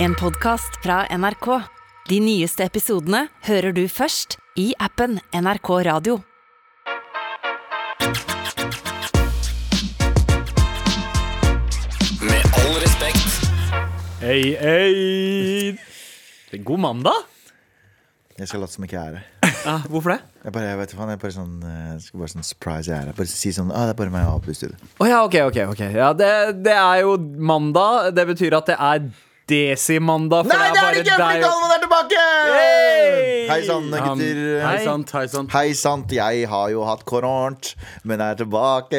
En podcast fra NRK. De nyeste episodene hører du først i appen NRK Radio. Med all respekt. Hei, hei! Det er God mandag! Jeg skal late som ikke jeg er her. Ja, hvorfor det? Jeg bare, jeg vet ikke faen, jeg bare sånn, eh, skal bare sånn surprise jeg er her. Bare si sånn, ah, det er bare meg og Abu i studio. Å ja, ok, ok. ok ja, det, det er jo mandag. Det betyr at det er desimandag. Nei, det er det ikke! Fordi Galvan er tilbake! Hey! Um, Hei sann, gutter. Hei. hei sant. Hei sant, jeg har jo hatt koront, men er tilbake.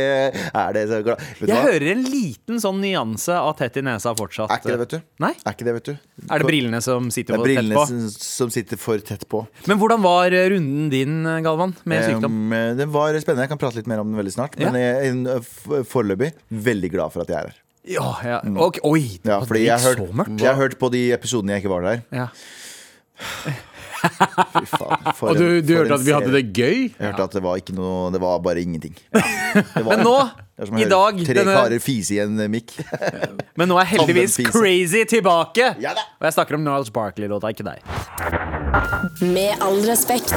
Er det så glad? Vet Jeg du hva? hører en liten sånn nyanse av tett i nesa fortsatt. Er ikke det, vet du. Nei? Er ikke det, vet du. Er det brillene som sitter Det er på tett brillene på? som, som sitter for tett på. Men hvordan var runden din, Galvan, med sykdom? Um, eh, det var spennende. Jeg kan prate litt mer om den veldig snart. Men Ja. jeg, en- eh, f- foreløpig veldig glad for at jeg er her. Ja, ja. ok, Oi, det mm. Ja, var- fordi det jeg gikk har så mørkt. hørt, jeg har hørt på de episodene jeg ikke var der. Ja. Fy faen, for Og du, en- du for hørte en at vi hadde serie. det gøy? Jeg hørte at det var ikke noe Det var bare ingenting. Det var- Men nå, Det er som å i høre dag, Tre denne- karer fise i en mikk. Men nå er heldigvis Tandemfise. Crazy tilbake! Ja da. Og jeg snakker om Niles Barkley-låta, ikke deg. Med all respekt.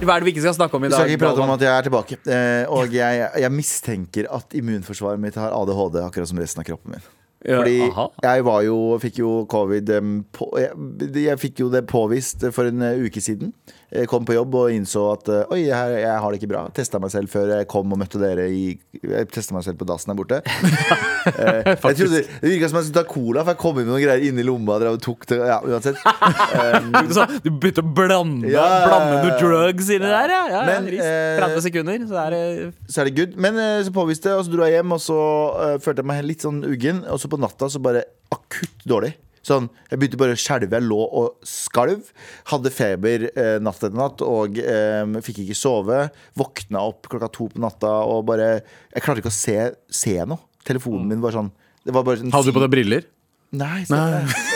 Hva er det vi ikke skal snakke om i Vi dag? skal ikke prate om Galvan? at jeg er tilbake. Eh, og jeg, jeg mistenker at immunforsvaret mitt har ADHD, akkurat som resten av kroppen min. Ja, Fordi aha. jeg var jo fikk jo covid em, på, jeg, jeg fikk jo det påvist for en eh, uke siden. Jeg kom på jobb og innså at eh, oi, jeg, jeg har det ikke bra. Testa meg selv før jeg kom og møtte dere i Jeg testa meg selv på dassen her borte. Jeg trodde, det virka som jeg skulle ta cola, for jeg kom inn med noen greier inni lomma. og drev og tok det, ja, uansett Du, sa- du begynte å blande Ja, ja, ja, ja. Blande noe drugs inni der, ja. ja, ja Men, rist. eh, 30 sekunder, så er det Så er det good. Men eh, så påviste jeg, og så dro jeg hjem, og så eh, følte jeg meg litt sånn uggen. Og så på natta så bare akutt dårlig. Sånn, Jeg begynte bare å skjelve. Jeg lå og skalv. Hadde feber eh, natt etter natt og eh, fikk ikke sove. Våkna opp klokka to på natta og bare Jeg klarte ikke å se, se noe. Telefonen min var sånn det var bare sånn Mm. Hadde du på deg briller? Nei, så,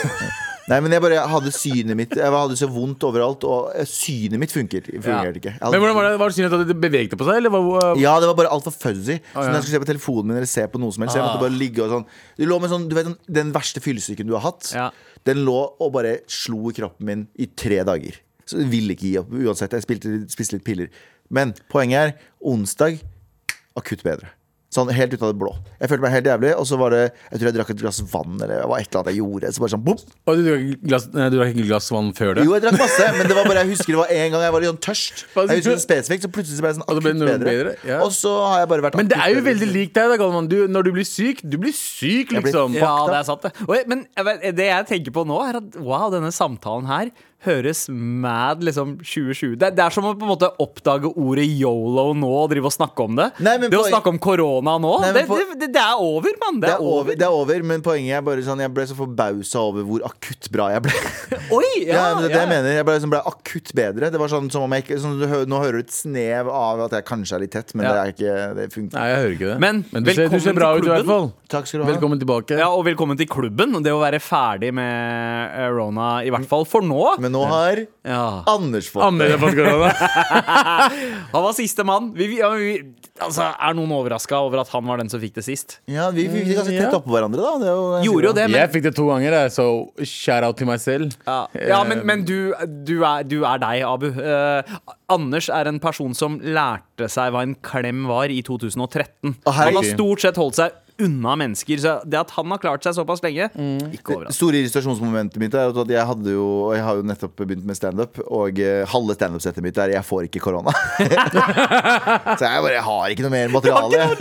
nei. men jeg bare jeg hadde synet mitt Jeg hadde så vondt overalt, og eh, synet mitt funker, fungerte ikke. Jeg hadde- Men hvordan Var det Var det synd at det bevegde på seg? Eller var, ja, det var bare altfor fuzzy. Så ja. Ah. når jeg skulle se på telefonen min eller se på noe som helst, så jeg måtte bare ligge og sånn Du lå med sånn, du vet den- den verste fyllesyken du har hatt, Ja. den lå og bare slo i kroppen min i tre dager. Så jeg ville ikke gi opp uansett. Jeg spilte, spiste litt piller. Men poenget er, onsdag akutt bedre. Sånn helt ut av det blå. Jeg følte meg helt jævlig, og så var det Jeg tror jeg drakk et glass vann, eller det var et eller annet jeg gjorde. Så bare sånn, boom. Og du, drakk glass, nei, du drakk ikke glass vann før det? Jo, jeg drakk masse, men det var bare, jeg husker det var en gang jeg var litt sånn tørst. Hva Jeg husker sier du? det spesifikt, så plutselig så ble jeg sånn Og det ble akutt noe bedre. bedre, ja. Og så har jeg bare vært Men det akutt er jo bedre veldig siden. likt deg, da, Galvan. Du, når du blir syk, du blir syk, Jeg blir- liksom. Ja, fucked det up. er sant, det. Oi, men jeg vet- det jeg tenker på nå, er at wow, denne samtalen her høres mad liksom 2020 Det, er- det er som å på en måte oppdage ordet yolo nå og drive og snakke om det. Nei, men det å poen- snakke om korona nå, Nei, det, men poen- det, det, det er over, mann. Det, Det er, over, det er over, men poenget er bare sånn Jeg ble så forbausa over hvor akutt bra jeg ble. Oi! Ja, men det er det ja. jeg mener. Jeg ble, sånn, ble akutt bedre. Det var sånn som om jeg ikke sånn, du, hø- Nå hører du et snev av at jeg kanskje er litt tett, men Ja. det, er ikke, det funker. Nei, jeg hører ikke det. Men du, ser, du velkommen ser bra til ut i hvert fall. klubben. Takk skal du ha. Velkommen tilbake. Ja, og velkommen til klubben. Det å være ferdig med eh, Rona, i hvert fall for nå. Men nå har Ja. Anders fått Anders har fått korona. Han var siste mann. Vi, vi, ja, men vi, altså, er noen overraska over at han var den som fikk det sist? Ja, vi vi fikk ganske Ja. tett oppå hverandre, da. Det er jo, Gjorde jo det, men, Jeg fikk det to ganger, jeg, så shout out til meg selv. Eh, ja. Ja, men, men du, du, er, du er deg, Abu. Eh, Anders er en person som lærte seg hva en klem var i 2013. Å, herregud. han har stort sett holdt seg unna mennesker. Så det at han har klart seg såpass lenge, ikke Det overraskende. store irritasjonsmomentet mitt er at jeg hadde jo og Jeg har jo nettopp begynt med standup, og eh, halve standup-settet mitt er 'jeg får ikke korona'. så jeg bare jeg har ikke noe mer materiale. Jeg har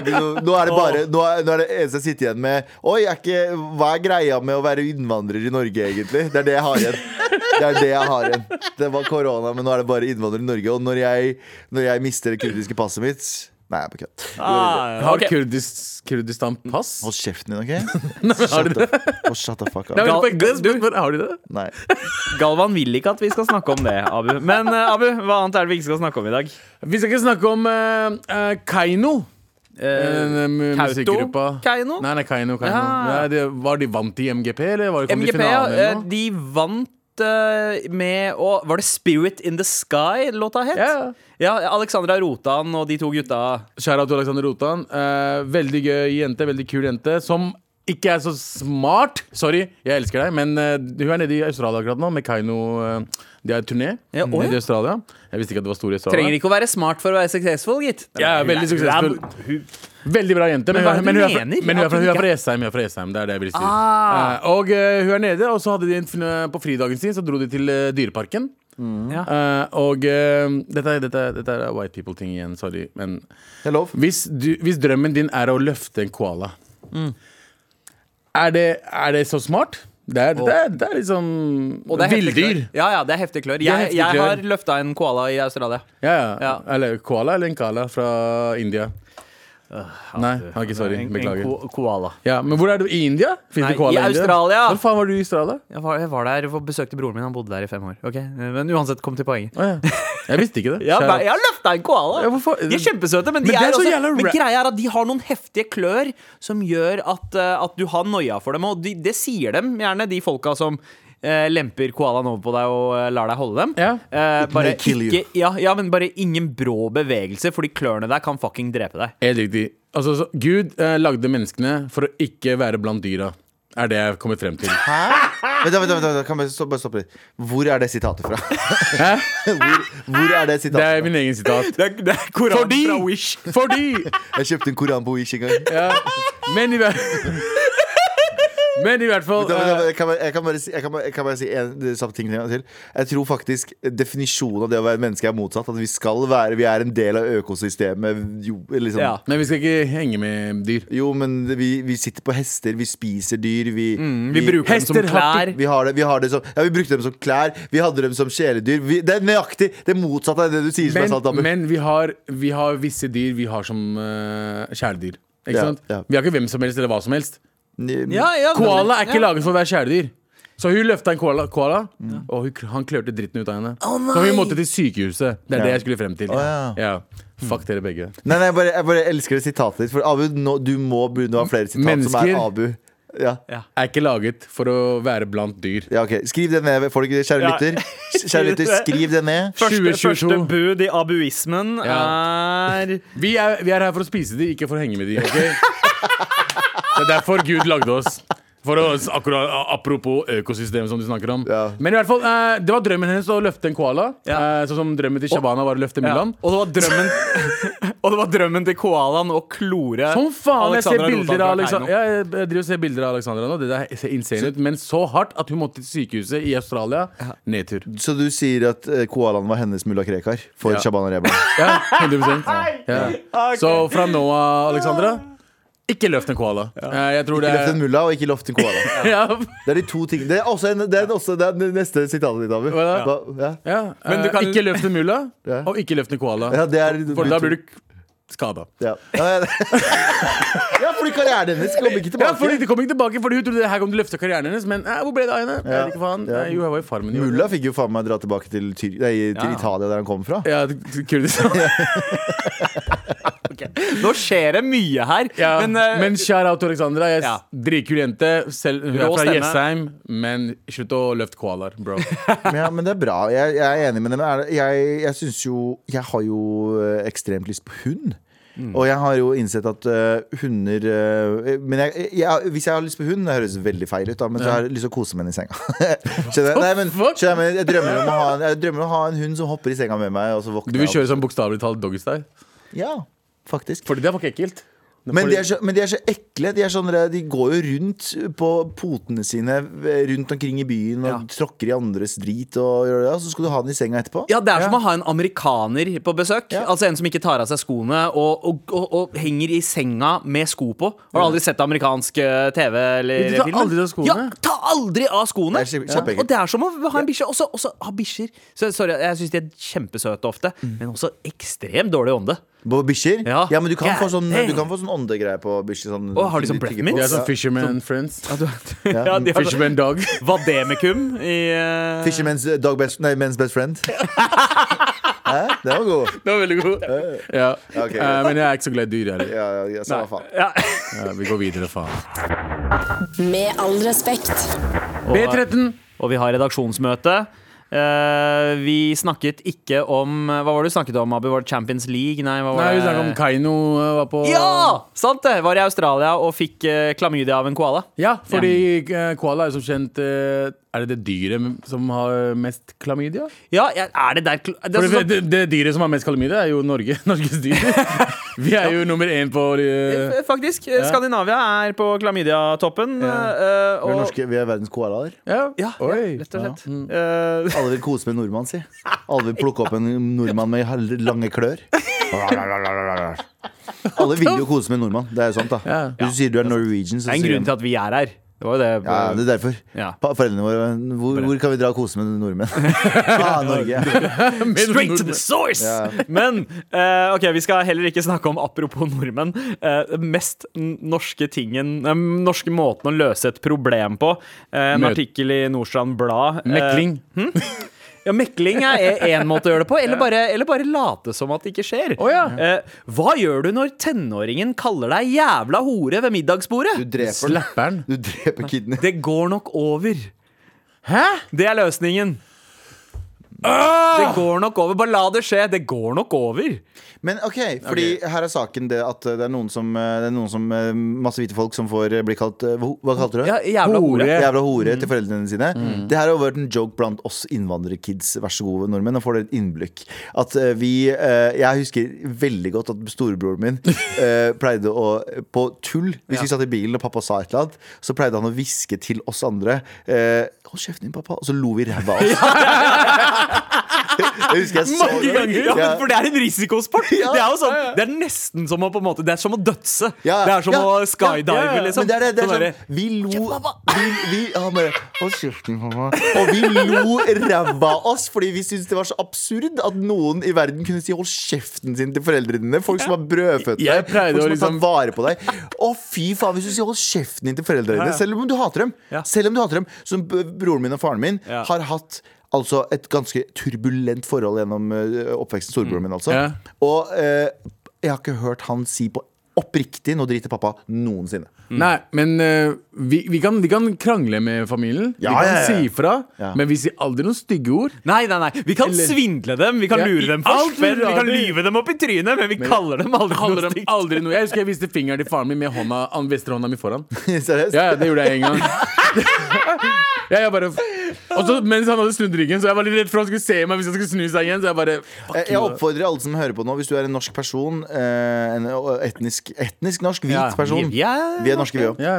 ikke noe- nå, er det bare, nå, er, nå er det eneste jeg sitter igjen med Oi, er ikke, hva er greia med å være innvandrer i Norge, egentlig? Det er det jeg har igjen. Det er det jeg har igjen. Det var korona, men nå er det bare innvandrer i Norge. Og når jeg, når jeg mister det kurdiske passet mitt Nei, jeg er på kødd. Har Ok. Kurdis, Kurdistan pass? Hold kjeften din, OK? Shut the, oh, shut the fuck Nei, up. men på ekte, spør- Har du det? Nei. Galvan vil ikke at vi skal snakke om det, Abu. Men eh, Abu, hva annet er det vi ikke skal snakke om i dag? Vi skal ikke snakke om eh, eh, Kaino. En, eh, mu- Kauto? musikkgruppa. Kaino? Nei, nei, Kaino, Kaino. Ja. Nei, det, var de vant i MGP, eller var det kom MGP, de ja. i finalen? eh, eller noe? De vant eh, med å Var det 'Spirit In The Sky' låta het? Ja. ja. Alexandra Rotan og de to gutta. Shout out til Alexander Rotan. Eh, veldig gøy jente, veldig kul jente. Som ikke er så smart Sorry, jeg elsker deg, men eh, hun er nede i Australia akkurat nå med Kaino. eh, de har turné Ja, å, ja. nede i Australia. Jeg visste ikke at det var store i Australia. Trenger ikke å være smart for å være suksessfull, gitt. Ja, Hun er- veldig suksessfull. hun er- hun- Veldig bra jente, men, Men hva er hun, det er- men, du hun, er, fra- mener? men hun, er, fra, At hun hun er fra ikke- Jessheim. Hun er fra Jessheim, det er det jeg vil si. Ah. Eh, og eh, hun er nede, og så hadde de en, fin- eh, på fridagen sin så dro de til eh, Dyreparken. Ja. Eh, og eh, dette, er- dette, er- dette er white people-ting igjen, sorry. Men Det er lov. hvis, du, hvis drømmen din er å løfte en koala, Mm. er, det, er det så smart? Det er, det er, det er liksom Og det er heftig villdyr. klør. Ja, ja, det er heftig klør. er Jeg, heftig jeg klør. har løfta en koala i Australia. Ja, ja. Ja. Eller koala eller en kala fra India. Nei, han er ikke sorry. En- en Beklager. ko- koala. Ja, Men hvor er du? I India? Nei, Finnes det koala i India? Australia. Hvor faen var du i Australia? Jeg var, jeg var der og besøkte broren min. Han bodde der i fem år. Ok, Men uansett, kom til poenget. Å, ja. Jeg visste ikke det. Ja, Shout men out. jeg har løfta en koala! Ja, hvorfor- De er kjempesøte, men, Men de det er er så også, jævla men ra- greia er at de har noen heftige klør som gjør at, eh, at du har noia for dem. Og de, det sier dem gjerne, de folka som eh, lemper koalaen over på deg og eh, lar deg holde dem. Ja. Eh, bare, may kill you. ikke, ja, ja, men bare ingen brå bevegelse, fordi klørne der kan fucking drepe deg. Helt riktig. Altså, så, Gud eh, lagde menneskene for å ikke være blant dyra. Er det jeg har kommet frem til. Hæ? Vent, da, vent, da, vent, da, kan jeg stoppe- bare stoppe litt. Hvor er det sitatet fra? Hvor, hvor er det Det er sitatet fra? min egen sitat. Det er, det er koranen Fordi, fra Wish. fordi Jeg kjøpte en koran på Wish en gang. ja, Men i hvert Men i hvert fall Da- da- da- eh, Jeg kan bare- jeg kan bare si- jeg kan bare- jeg kan bare si en det samme ting en gang til. Jeg tror faktisk definisjonen av det å være menneske er motsatt. At vi skal være Vi er en del av økosystemet. Jo, liksom. Ja. eh, Men vi skal ikke henge med dyr. jo men vi, vi sitter på hester, vi spiser dyr, vi, Vi bruker dem som Hester har klær. vi har, det, vi har det som Ja, vi brukte dem som klær, vi hadde dem som kjæledyr. Vi, det er nøyaktig det motsatte av det du sier. som er Men, sant, Abu. men vi, har, vi har visse dyr vi har som eh, kjæledyr. Ikke Ja, sant? ja. Vi har ikke hvem som helst eller hva som helst. Ja, ja, men- Koala er ikke ja. laget for å være kjæledyr. Så hun løfta en koala, koala og hun, han klørte dritten ut av henne. så hun måtte til sykehuset. Det er Ja. det jeg skulle frem til. Å, ja. Fuck dere begge. Nei, nei, jeg bare, jeg bare elsker det sitatet ditt. For Abu, nå, du må begynne å ha flere sitat som er Mennesker. Abu. Ja. Er ikke laget for å være blant dyr. ja, ok Skriv det ned, folk, kjære Ja. lytter. Kjære lytter, skriv det ned. Første, 2022. første bud i abuismen er Vi er, vi er her for å spise de, ikke for å henge med de. ok? det er derfor Gud lagde oss. For å, akkurat, apropos økosystemet som du snakker om. Ja. Men i hvert fall, eh, det var drømmen hennes å løfte en koala. Ja. eh, sånn som drømmen til Shabana var å løfte Ja. Milan. Og det var drømmen Og det var drømmen til koalaen å klore Som faen! Jeg ser Alexandra Rotan bilder fra av liksom- Alexandra Keiino. ja, Jeg driver og ser bilder av Alexandra nå. Det der ser insane ut. Men så hardt at hun måtte til sykehuset i Australia. Nedtur. Så du sier at eh, koalaen var hennes mulla Krekar for Ja. Shabana Rehman? Ja, 100 ja. Så fra nå av, Alexandra, ikke løft en koala. Eh, Jeg Ikke tror det løft en er mulla, og ikke løft en koala. ja. Det er de to ting Det er også, en, det er også det er det neste sitatet ditt, Abu. Hva da? Hva- Ja. Ja. Men du eh, kan- Ikke løft en mulla, Ja. og ikke løft en koala. Ja, det er For da blir du k- skada. ja. Ja, ja. ja, fordi karrieren hennes kommer ikke Ja, fordi tilbake. det kom ikke tilbake, fordi hun trodde det her kom til å løfte karrieren hennes. Men eh, hvor ble det av henne? Jeg Ja. vet ikke faen. Ja. Eh, Jo, jeg var i farmen. i år. Mulla fikk jo faen meg dra tilbake til, Tyr nei, til Ja. Italia, der han kom fra. Ja, til Kurdistan. Nå skjer det mye her Ja, men, Men, eh, shout out til Alexandra. Jeg Ja. Dritkul jente. Selv, hun Rå er fra stemme. Jessheim, men slutt å løfte koalaer, bro. Men, ja, men det er bra. Jeg, jeg er enig med dem. Er det- Jeg, jeg synes jo Jeg har jo eh, ekstremt lyst på hund. Mm. Og jeg har jo innsett at eh, hunder eh, Men jeg, jeg, hvis jeg har lyst på hund Det høres veldig feil ut, da, men så har jeg lyst til å kose med henne i senga. skjønner jeg? Nei, men, fuck? skjønner jeg, men jeg, drømmer om å ha en, jeg drømmer om å ha en hund som hopper i senga med meg, og så våkner Du vil jeg opp. kjøre sånn bokstavelig talt doggystyle? Ja, faktisk. Fordi det er faktisk ekkelt. Men de, Fordi- er så, men de er så ekle. De, er sånn, der- de går jo rundt på potene sine eh, rundt omkring i byen og Ja. tråkker i andres drit, og, gjør det, og så skal du ha den i senga etterpå. ja, det er som å ha en amerikaner på besøk Ja. Altså en som ikke tar av seg skoene og, og, og, og henger i senga med sko på Har du aldri sett amerikansk eh, TV eller De tar film? aldri av skoene. Ja, ta aldri av skoene Det er kjempe- kjempeekkelt. Og det er som å ha en bikkje Også, også ha bikkjer Så, Sorry, jeg synes de er kjempesøte ofte Mm. Men også ekstremt dårlig ånde På bikkjer? Ja. Ja. men du kan, Ja, få sånn, dang. du kan få sånn åndegreie på bikkjer. Sånn, Å, har de sånn du tygger breath mints? på. De er sånn Ja. fisherman friends. Ja, de har Fisherman dog. Vademekum i eh, Fisherman's eh, dog best, nei, men's best friend. Hæ? Det var god. Det var veldig god. Ja. Ja, ok, Eh, greit. men jeg er ikke så glad i dyr, jeg heller. Ja, ja, ja, samme faen. ja. Ja, vi går videre, faen. Med all respekt. B13. Og vi har redaksjonsmøte. Eh, vi snakket ikke om Hva var det du snakket om, Abu? Var det Champions League? Nei, hva var Nei, vi det? snakket om Kaino eh, var på Ja! Sant det! Var i Australia og fikk eh, klamydia av en koala. Ja, fordi eh, koala er jo som kjent eh, Er det det dyret som har mest klamydia? Ja, ja, er det der kl- det er For det, sånn, det, det dyret som har mest klamydia, er jo Norge. Norges dyr. Vi er jo nummer én på eh, f- Faktisk. eh, Skandinavia er på klamydiatoppen. eh, Vi er, og, norske, vi er verdens koalaer. Ja, ja, ja, oi. Mm. rett og slett. Eh, Alle vil kose med en nordmann, si. Alle vil plukke opp en nordmann med lange klør. Alle vil jo kose med en nordmann. Det er jo sant, da. Ja. Hvis du sier du er Norwegian, så det er en sier grunn de til at vi er her. Det var jo det. ja, det er derfor. Ja. Pa- Foreldrene våre hvor, hvor kan vi dra og kose med nordmenn? Ah, Norge. Straight to the source! Ja. Men eh, ok, vi skal heller ikke snakke om apropos nordmenn. eh, den mest n- norske tingen Den norske måten å løse et problem på. Eh, en Møt- artikkel i Nordstrand Blad. eh, Mekling. Ja, Mekling er én måte å gjøre det på, eller bare, eller bare late som at det ikke skjer. Å, ja. Eh, hva gjør du når tenåringen kaller deg jævla hore ved middagsbordet? Du dreper den. Slapperen. Du dreper kiden. Det går nok over. Hæ? Ah! Det er løsningen. Det går nok over. Bare la det skje. Det går nok over. Men ok, fordi her er saken det at det er noen som, eh, det er noen som masse hvite folk som får eh, bli kalt Hva kalte du det? Ja, jævla hore. Mm. Hore. Jævla hore til foreldrene sine. Det her har jo vært en joke blant oss innvandrerkids. Vær så god, nordmenn. Nå får dere et innblikk. At eh, vi eh, Jeg husker veldig godt at storebroren min eh, pleide å På tull, hvis vi satt i bilen og pappa sa et eller annet, så pleide han å hviske til oss andre eh, Hold kjeften din, pappa. Og så lo vi ræva av oss. Jeg husker jeg så Mange ganger. Ja, men for det er en risikosport. Ja. Det er jo sånn, det er nesten som å på en måte Det er som å dødse. Ja, Det er som ja, å ja, skydive, ja, ja. liksom. Men det er det, det er Sånn sånn, derre- vi lo vi, vi, han bare, Hold kjeften, mamma. Og vi lo ræva av oss, fordi vi syntes det var så absurd at noen i verden kunne si 'hold kjeften sin' til foreldrene dine. Folk som har brødfødt deg, Jeg pleide folk som å har liksom- tatt vare på deg. Å, fy faen, hvis du sier 'hold kjeften din' til foreldrene dine, selv om du hater dem, Ja. Selv om du hater dem som b- broren min og faren min Ja. har hatt Altså et ganske turbulent forhold gjennom eh, oppveksten. Storebroren min, altså. Mm. Ja. Og eh, jeg har ikke hørt han si på oppriktig 'nå driter pappa' noensinne. Nei, men eh, vi, vi, kan, vi kan krangle med familien. Ja, vi kan ja, ja. si ifra, Ja. men vi sier aldri noen stygge ord. Nei, nei, nei. Vi kan Eller- svindle dem, vi kan Ja, lure i dem alt for spenn, vi vi kan lager. lyve dem opp i trynet, men vi kaller dem aldri Kaller noe dem stygt. aldri noe Jeg husker jeg viste fingeren til faren min med hånda, an- venstrehånda mi foran. Seriøst? Ja, ja, det gjorde jeg en gang. Ja, jeg bare Og så mens han hadde snudd ryggen, så jeg var litt redd for han skulle se meg hvis han skulle snu seg igjen. Så jeg bare Jeg jeg oppfordrer alle som hører på nå, hvis du er en norsk person, eh, en etnisk, etnisk norsk, hvit Ja, vi- person vi er Vi er norske, vi òg. Ja.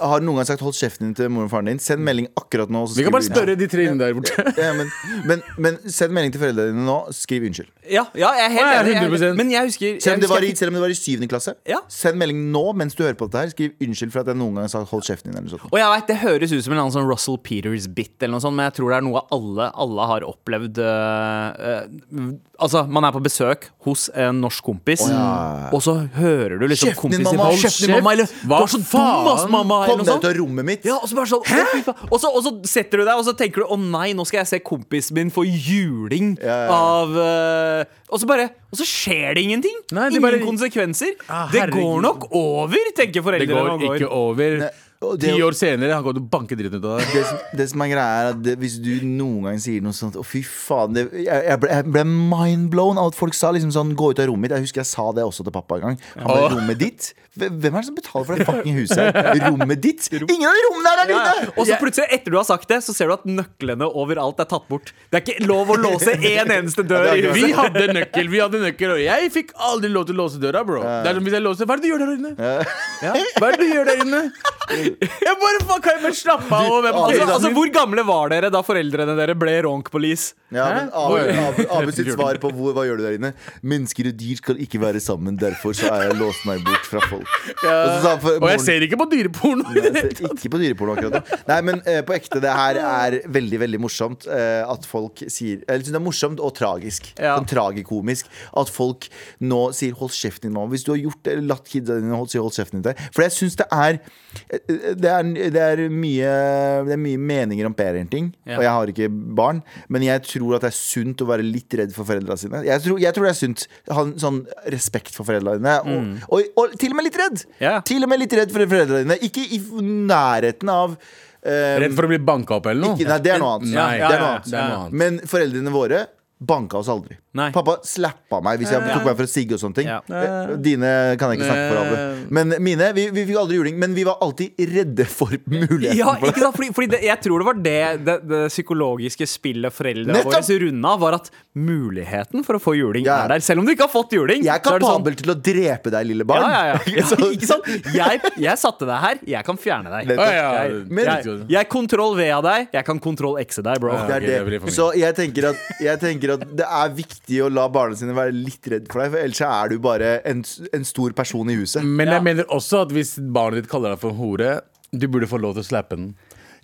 Har noen gang sagt 'hold kjeften din' til moren og faren din? Send melding akkurat nå. så Vi kan bare skriver du spørre de tre inne der borte. unnskyld. Ja, men, men, men send melding til foreldrene dine nå. Skriv unnskyld. Ja, ja, jeg er Ja, helt ja, enig. jeg er helt 100%. enig. Men jeg husker, jeg Selv om det var husker i, selv om det var i syvende klasse. Ja. Send melding nå mens du hører på dette her. Skriv unnskyld for at jeg noen gang sa 'hold kjeften din' eller noe sånt. Og jeg vet, Det høres ut som en annen sånn Russell Peters-bit, eller noe sånt, men jeg tror det er noe alle, alle har opplevd. øh, øh, altså, Man er på besøk hos en norsk kompis, og så hører du liksom Kjeften din, kompisen mamma! «Hold Kjeften din, mamma!» Eller, Hva du er så dum, ass, faen? mamma! Kom Eller deg noe ut sånt. av rommet mitt! Ja, og så bare sånn «Å, fy faen!» og så, og så setter du deg, og så tenker du 'Å nei, nå skal jeg se kompisen min få juling Ja, ja. av øh, Og så bare Og så skjer det ingenting! Nei, de Ingen bare- konsekvenser! Ah, det går herregud. nok over, tenker Det foreldrene. går og går. ikke over. og Ti det- år senere, han kommer til å banke dritten ut av deg. det som, det som er greia er at det, Hvis du noen gang sier noe sånt Å fy faen det, jeg, jeg ble, jeg ble mindblown av at folk sa liksom sånn Gå ut av rommet ditt Jeg husker jeg sa det også til pappa en gang Han ble Åh. rommet ditt Hvem er det som betaler for det fucking huset her? Rommet ditt? Ingen av rommene her er dine! Og så plutselig, etter du har sagt det, så ser du at nøklene overalt er tatt bort. Det er ikke lov å låse en eneste dør Ja, i det er Vi huset. hadde nøkkel, vi hadde nøkkel, og jeg fikk aldri lov til å låse døra, bro. Det er som hvis jeg låser Hva er det du gjør der inne? Ja. Hva er det du gjør der inne? Jeg bare faen, kan jeg bare slappe av? og være på Altså, telefonen altså, min? Hvor gamle var dere da foreldrene dere ble ronk police? Ja, men Abu, Hæ? Abu, Abu sitt svar på hvor, hva gjør du der inne? Mennesker og dyr skal ikke være sammen Derfor så er jeg låst meg bort fra folk Og så sa han for- Og jeg ser ikke på dyreporno. i det Nei, hele så Ikke på dyreporno akkurat nå. Nei, men eh, på ekte, det her er veldig veldig morsomt eh, at folk sier Jeg synes det er morsomt og tragisk. Ja. Sånn tragikomisk. At folk nå sier 'hold kjeften din, mamma'. Hvis du har gjort det, eller latt kidsa dine holdt, si 'hold kjeften din' til deg. For jeg syns det er eh, det er, det, er mye, det er mye meninger om parenting, Ja. og jeg har ikke barn. Men jeg tror at det er sunt å være litt redd for foreldra sine. Jeg tror, jeg tror det er sunt. Ha en sånn respekt for foreldra dine. Og, og, og til og med litt redd! Mm. Ja. Til og med litt redd for foreldrene dine. Ikke i f- nærheten av Eh, Redd for å bli banka opp eller noe? ikke, nei, det er noe annet. Nei, det er noe ja, annet. det er noe annet. Men foreldrene våre banka oss aldri. Nei. Pappa slappa meg hvis jeg tok meg for å sigge og sånne ting. Ja. Eh. Eh, Dine kan jeg ikke snakke for alle. Men mine, vi, vi fikk aldri juling, men vi var alltid redde for muligheten. Ja, for ikke sant? Fordi, fordi det, jeg tror det var det det, det psykologiske spillet foreldrene Nettopp! våre runda, var at muligheten for å få juling Ja. er der. Selv om du ikke har fått juling. Jeg er så er det sånn- kapabel til å drepe deg, lille barn. Ja, ja, ja. ja ikke sant? Jeg, jeg satte deg her, jeg kan fjerne deg. Nettopp. Å, ja. Jeg, Men- jeg, jeg kontroll V av deg, jeg kan kontroll X-e deg, bro. Det Ok, er det blir det. for mye. Så jeg tenker, at, jeg tenker at det er viktig å la barna sine være litt redd for deg, for ellers så er du bare en, en stor person i huset. Men Ja. jeg mener også at hvis barnet ditt kaller deg for hore, du burde få lov til å slappe den.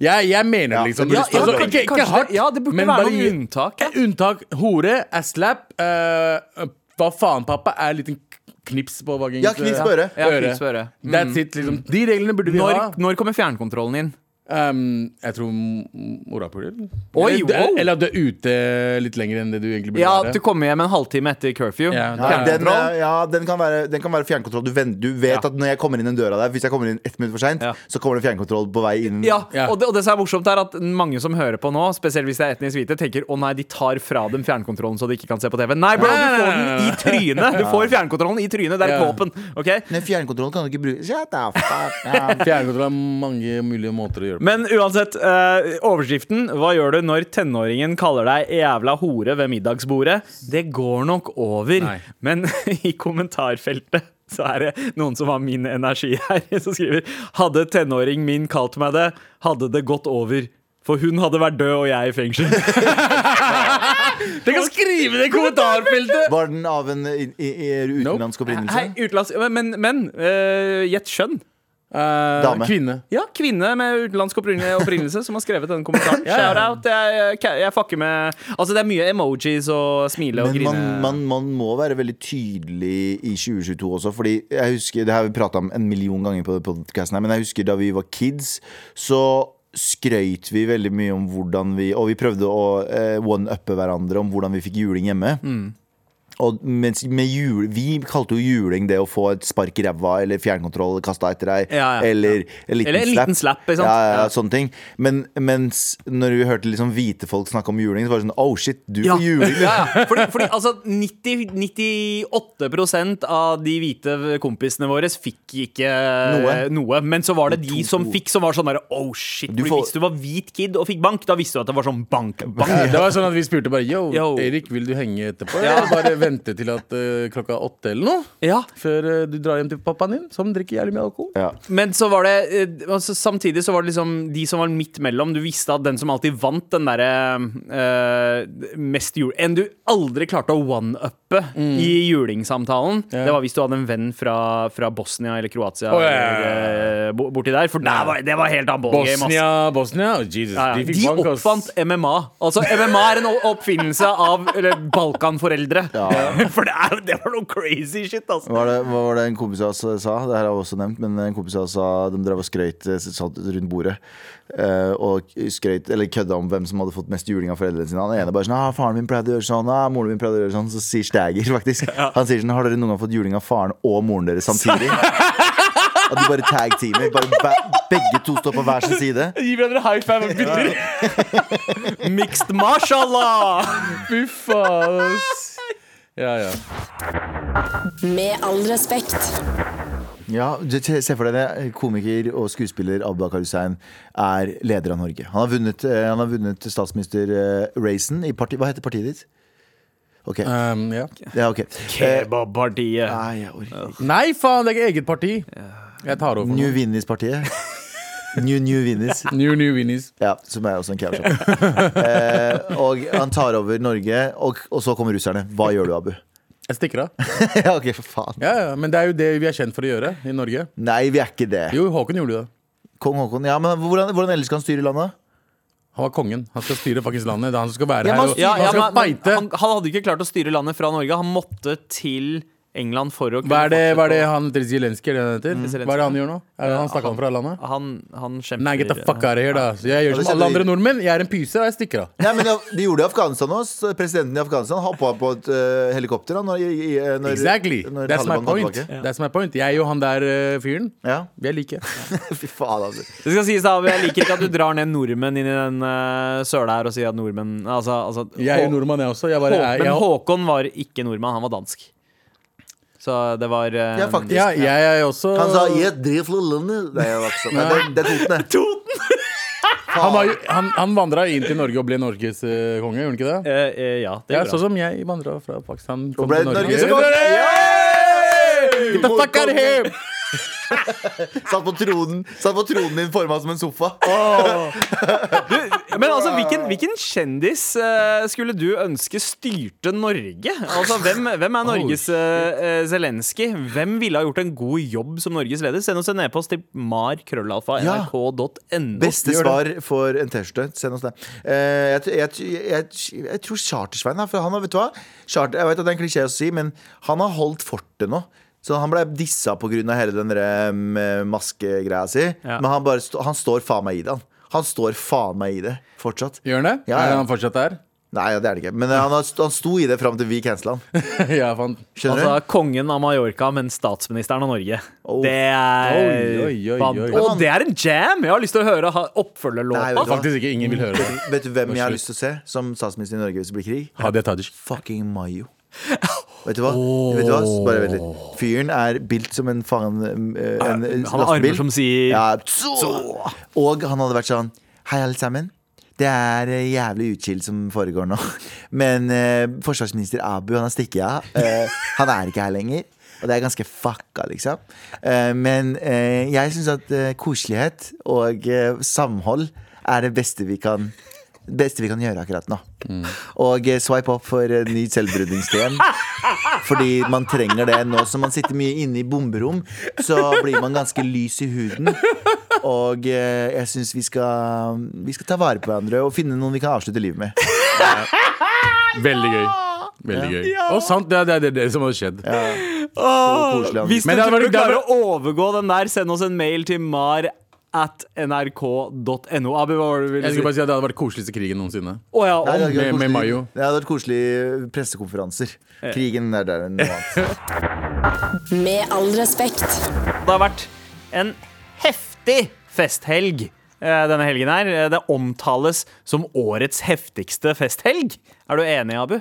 Jeg, jeg mener Ja, liksom det burde altså, stå der. ikke, ikke Kanskje hardt, det- ja, det burde men være bare noen gi- unntak, ja. Eh, Unntak. Hore er slap. eh, hva faen, pappa? Er en liten knips på bagen. Ja, knips på øret. Ja, knips på øret. Mm. That's it, liksom. De reglene burde vi Når, ha. når kommer fjernkontrollen inn? Um, jeg tror m- morapuler. Oi, eller, det- wow. eller at du er ute litt lenger enn det du egentlig burde Ja, være. du kommer hjem en halvtime etter curfew. Ja, Ja, den, Fjernkontroll. eh, ja, den, kan være, den kan være fjernkontroll. Du, ven- du vet at når jeg kommer inn den døra der, hvis jeg kommer inn ett minutt for seint, Ja. så kommer det fjernkontroll på vei inn. Ja, Ja. Og, det, og det som er morsomt er at mange som hører på nå, spesielt hvis det er etnisk hvite, tenker å nei, de tar fra dem fjernkontrollen så de ikke kan se på TV. Nei, bro, du Nei, får nei, nei, den i trynet! Du får fjernkontrollen i trynet. Det er et Ja. våpen. ok? Men fjernkontrollen kan du ikke bruke Shut the fuck up. Fjernkontroll har mange mulige måter å gjøre det på. Men uansett, eh, overskriften Hva gjør du når tenåringen kaller deg jævla hore ved middagsbordet? Det går nok over. Nei. Men i kommentarfeltet så er det noen som har min energi her, som skriver Hadde tenåring min kalt meg det, hadde det gått over. For hun hadde vært død og jeg i fengsel. Dere kan skrive det i kommentarfeltet! Var den av en i, i, i utenlandsk opprinnelse? Hei, utenlands... Men, men eh, gjett skjønn. Eh, Dame. Kvinne. Ja, kvinne med utenlandsk opprinnelse, opprinnelse som har skrevet denne kommentaren. Ja, ja. Shout out. Jeg, jeg, jeg fucker med Altså, det er mye emojis og smile og Men grine. man, man, man må være veldig tydelig i 2022 også. Fordi jeg husker, Det har vi prata om en million ganger på podcasten her, men jeg husker da vi var kids, så skrøyt vi veldig mye om hvordan vi Og vi prøvde å eh, one-uppe hverandre om hvordan vi fikk juling hjemme. Mm. Og mens med jul, vi kalte jo juling det å få et spark i ræva eller fjernkontroll kasta etter deg. Ja, ja, ja. Eller en liten Eller en liten slapp, ikke sant? Ja, ja, Ja. ja, sånne ting. Men mens når vi hørte liksom hvite folk snakke om juling, så var det sånn Oh shit, du Ja. får juling! ja, ja. Fordi, fordi altså 90, 98 av de hvite kompisene våre fikk ikke noe. Noe. Men så var det de To- som fikk, som var sånn derre Oh shit. Du fordi får- Hvis du var hvit kid og fikk bank, da visste du at det var sånn bank, bank. Det var sånn at vi spurte bare Yo, Yo. Erik, vil du henge etterpå? Eller bare vente til at eh, klokka er åtte eller noe? Ja. Før eh, du drar hjem til pappaen din, som drikker jævlig mye alkohol. Ja. Men så var det eh, altså, Samtidig så var det liksom de som var midt mellom. Du visste at den som alltid vant den derre eh, mest jul... En du aldri klarte å one-uppe i julingssamtalen, Mm. Ja. det var hvis du hadde en venn fra, fra Bosnia eller Kroatia Å, ja, ja, ja. eller, eh, bo- borti der. For der var, det var helt annen ballgame. ass. Bosnia, Bosnia oh, Jesus, Ja, ja. de De, fikk bank ass. oppfant MMA. Altså, MMA er en o- oppfinnelse av eller, Balkan-foreldre. For det, er, det var noe crazy shit, altså. Hva var, det, hva var det en kompis av oss eh, sa? Det her har jeg også nevnt, men en kompis av oss sa de drev og skrøyt eh, satt rundt bordet. eh, og skrøyt, eller kødda om hvem som hadde fått mest juling av foreldrene sine. Han ene bare sånn ah, 'Faren min pleide å gjøre sånn.' Ah, 'Moren min pleide å gjøre sånn.' Så sier Stæger faktisk Han sier sånn 'Har dere noen gang fått juling av faren og moren deres samtidig?' Og de bare tag teamer. Bare be begge to står på hver sin side. Gi hverandre high five og gutter. Mixed mashallah! Fy faen, ass. Ja, ja. Med all respekt. Ja, du- se se for deg det. Komiker og skuespiller Abdakar Hussein er leder av Norge. Han har vunnet, eh, han har vunnet statsminister-racen i parti... Hva heter partiet ditt? Ok. Um, ja. Ja, ok. Eh, Kebabpartiet. Nei, jeg orker ikke. Nei, faen, det er ikke eget parti. Jeg tar over. New nå. Vinnies-partiet. New New Vinnies. New New Winnies. Ja, som er også en kebabshop. Eh, og han tar over Norge, og, og så kommer russerne. Hva gjør du, Abu? Jeg stikker av. ja, ok, for faen. Ja, ja, Men det er jo det vi er kjent for å gjøre i Norge. Nei, vi er ikke det. Jo, Håkon gjorde det. Kong Haakon. Ja, men hvordan, hvordan ellers skal han styre landet? Han var kongen. Han skal styre faktisk landet. Det er han som skal være Ja, men han her. og- styrer- han skal men- men fighte. han, han hadde ikke klart å styre landet fra Norge. Han måtte til England for å kunne Hva er det, fortsette hva er det å- han heter? Zelenskyj? er det han heter? Zelenskyj. Hva er det han gjør nå? Er det han stakk han fra landet? Han, han kjemper Nei, get the fuck out of here, da. Så jeg Ja, gjør det som alle setter- andre nordmenn. Jeg er en pyse, og jeg stikker av. Nei, men De gjorde det i Afghanistan også. Presidenten i Afghanistan hoppa på et eh, helikopter. da, Når, i, i, når, Exactly. når That's my Taliban kom point. tilbake. That's my point. Jeg og han der eh, fyren, Ja. vi er like. Fy faen, altså. Det skal sies da, Jeg liker ikke at du drar ned nordmenn inn i den eh, søla her og sier at nordmenn altså, altså, Jeg er jo Hå- nordmann, jeg også. Jeg bare Hå- er Men jeg, Håkon var ikke nordmann, han var dansk. Så det var eh, Ja, faktisk. ja, jeg er også Han sa 'i et drivfullt land'. Nei, jeg var ikke sånn. Nei, det, det er Toten, det. Han, var jo- han, han vandra inn til Norge og ble Norges eh, konge, gjorde han ikke det? eh, eh, ja, det Ja, gjorde sånn som jeg vandra fra Pakistan Og kom ble til Norge. Norges Get konge. the fuck out of here! Satt på tronen Satt på tronen din forma som en sofa. det. Men altså, hvilken, hvilken kjendis eh, skulle du ønske styrte Norge? Altså, Hvem, hvem er Norges uh, Zelenskyj? Hvem ville ha gjort en god jobb som Norges leder? Send oss en e-post til Ja. markrøllalfa.nrk.no. Beste svar for en T-skjorte. Send oss det. Eh, jeg, t- jeg, t- jeg, t- jeg tror Charter-Svein er for han har, vet du hva? Charter, jeg vet at det er en klisjé å si, men han har holdt fortet nå. Så han ble dissa pga. hele den der, mm, maskegreia si. Ja. Men han, bare stå, han står faen meg i det. Han. han står faen meg i det fortsatt. Gjør han det? Ja, ja. Er han fortsatt der? Nei, ja, det er det ikke. Men eh, han, har, st- han sto i det fram til vi cancela han. ja, faen. Skjønner Altså du? kongen av Mallorca, men statsministeren av Norge. Oh. Det er Oi, oi, oi, oi. Og det er en jam! Jeg har lyst til å høre ha- Nei, vet du oppfølgerlåta. hva? Faktisk ikke ingen vil høre det. Vet du hvem jeg har lyst til å se som statsminister i Norge hvis det blir krig? Hadia Tajik. Fucking Mayo. Vet du hva? Vet du hva? Så Bare vent litt. Fyren er bilt som en fangen... eh, En Han har armer som sier ja, så. Og han hadde vært sånn Hei, alle sammen. Det er eh, jævlig utkild som foregår nå. Men eh, forsvarsminister Abu, han har stikket av. Eh, han er ikke her lenger. Og det er ganske fucka, liksom. Eh, men eh, jeg syns at eh, koselighet og eh, samhold er det beste vi kan Beste vi kan gjøre akkurat nå. Mm. Og eh, swipe opp for eh, ny selvbrudningskrem. Fordi man trenger det nå som man sitter mye inne i bomberom. Så blir man ganske lys i huden. Og eh, jeg syns vi, skal- vi skal ta vare på hverandre og finne noen vi kan avslutte livet med. Veldig gøy. Veldig gøy. Og sant, det er det, er- det, er det som har skjedd. Så koselig, Anders. Hvis du Men det tror hadde vært- du det hadde klarer å overgå den der, send oss en mail til mar at nrk.no. Abu, hva var det du ville Jeg si? skulle bare si at Det hadde vært koseligste krigen noensinne. Å ja, Nei, om- det hadde vært Med- med koselig- Mayo. Det hadde vært koselige pressekonferanser. Eh. Krigen er der enn noe annet. Med all respekt. Det har vært en heftig festhelg eh, denne helgen her. Eh, Det omtales som årets heftigste festhelg. Er du enig, Abu?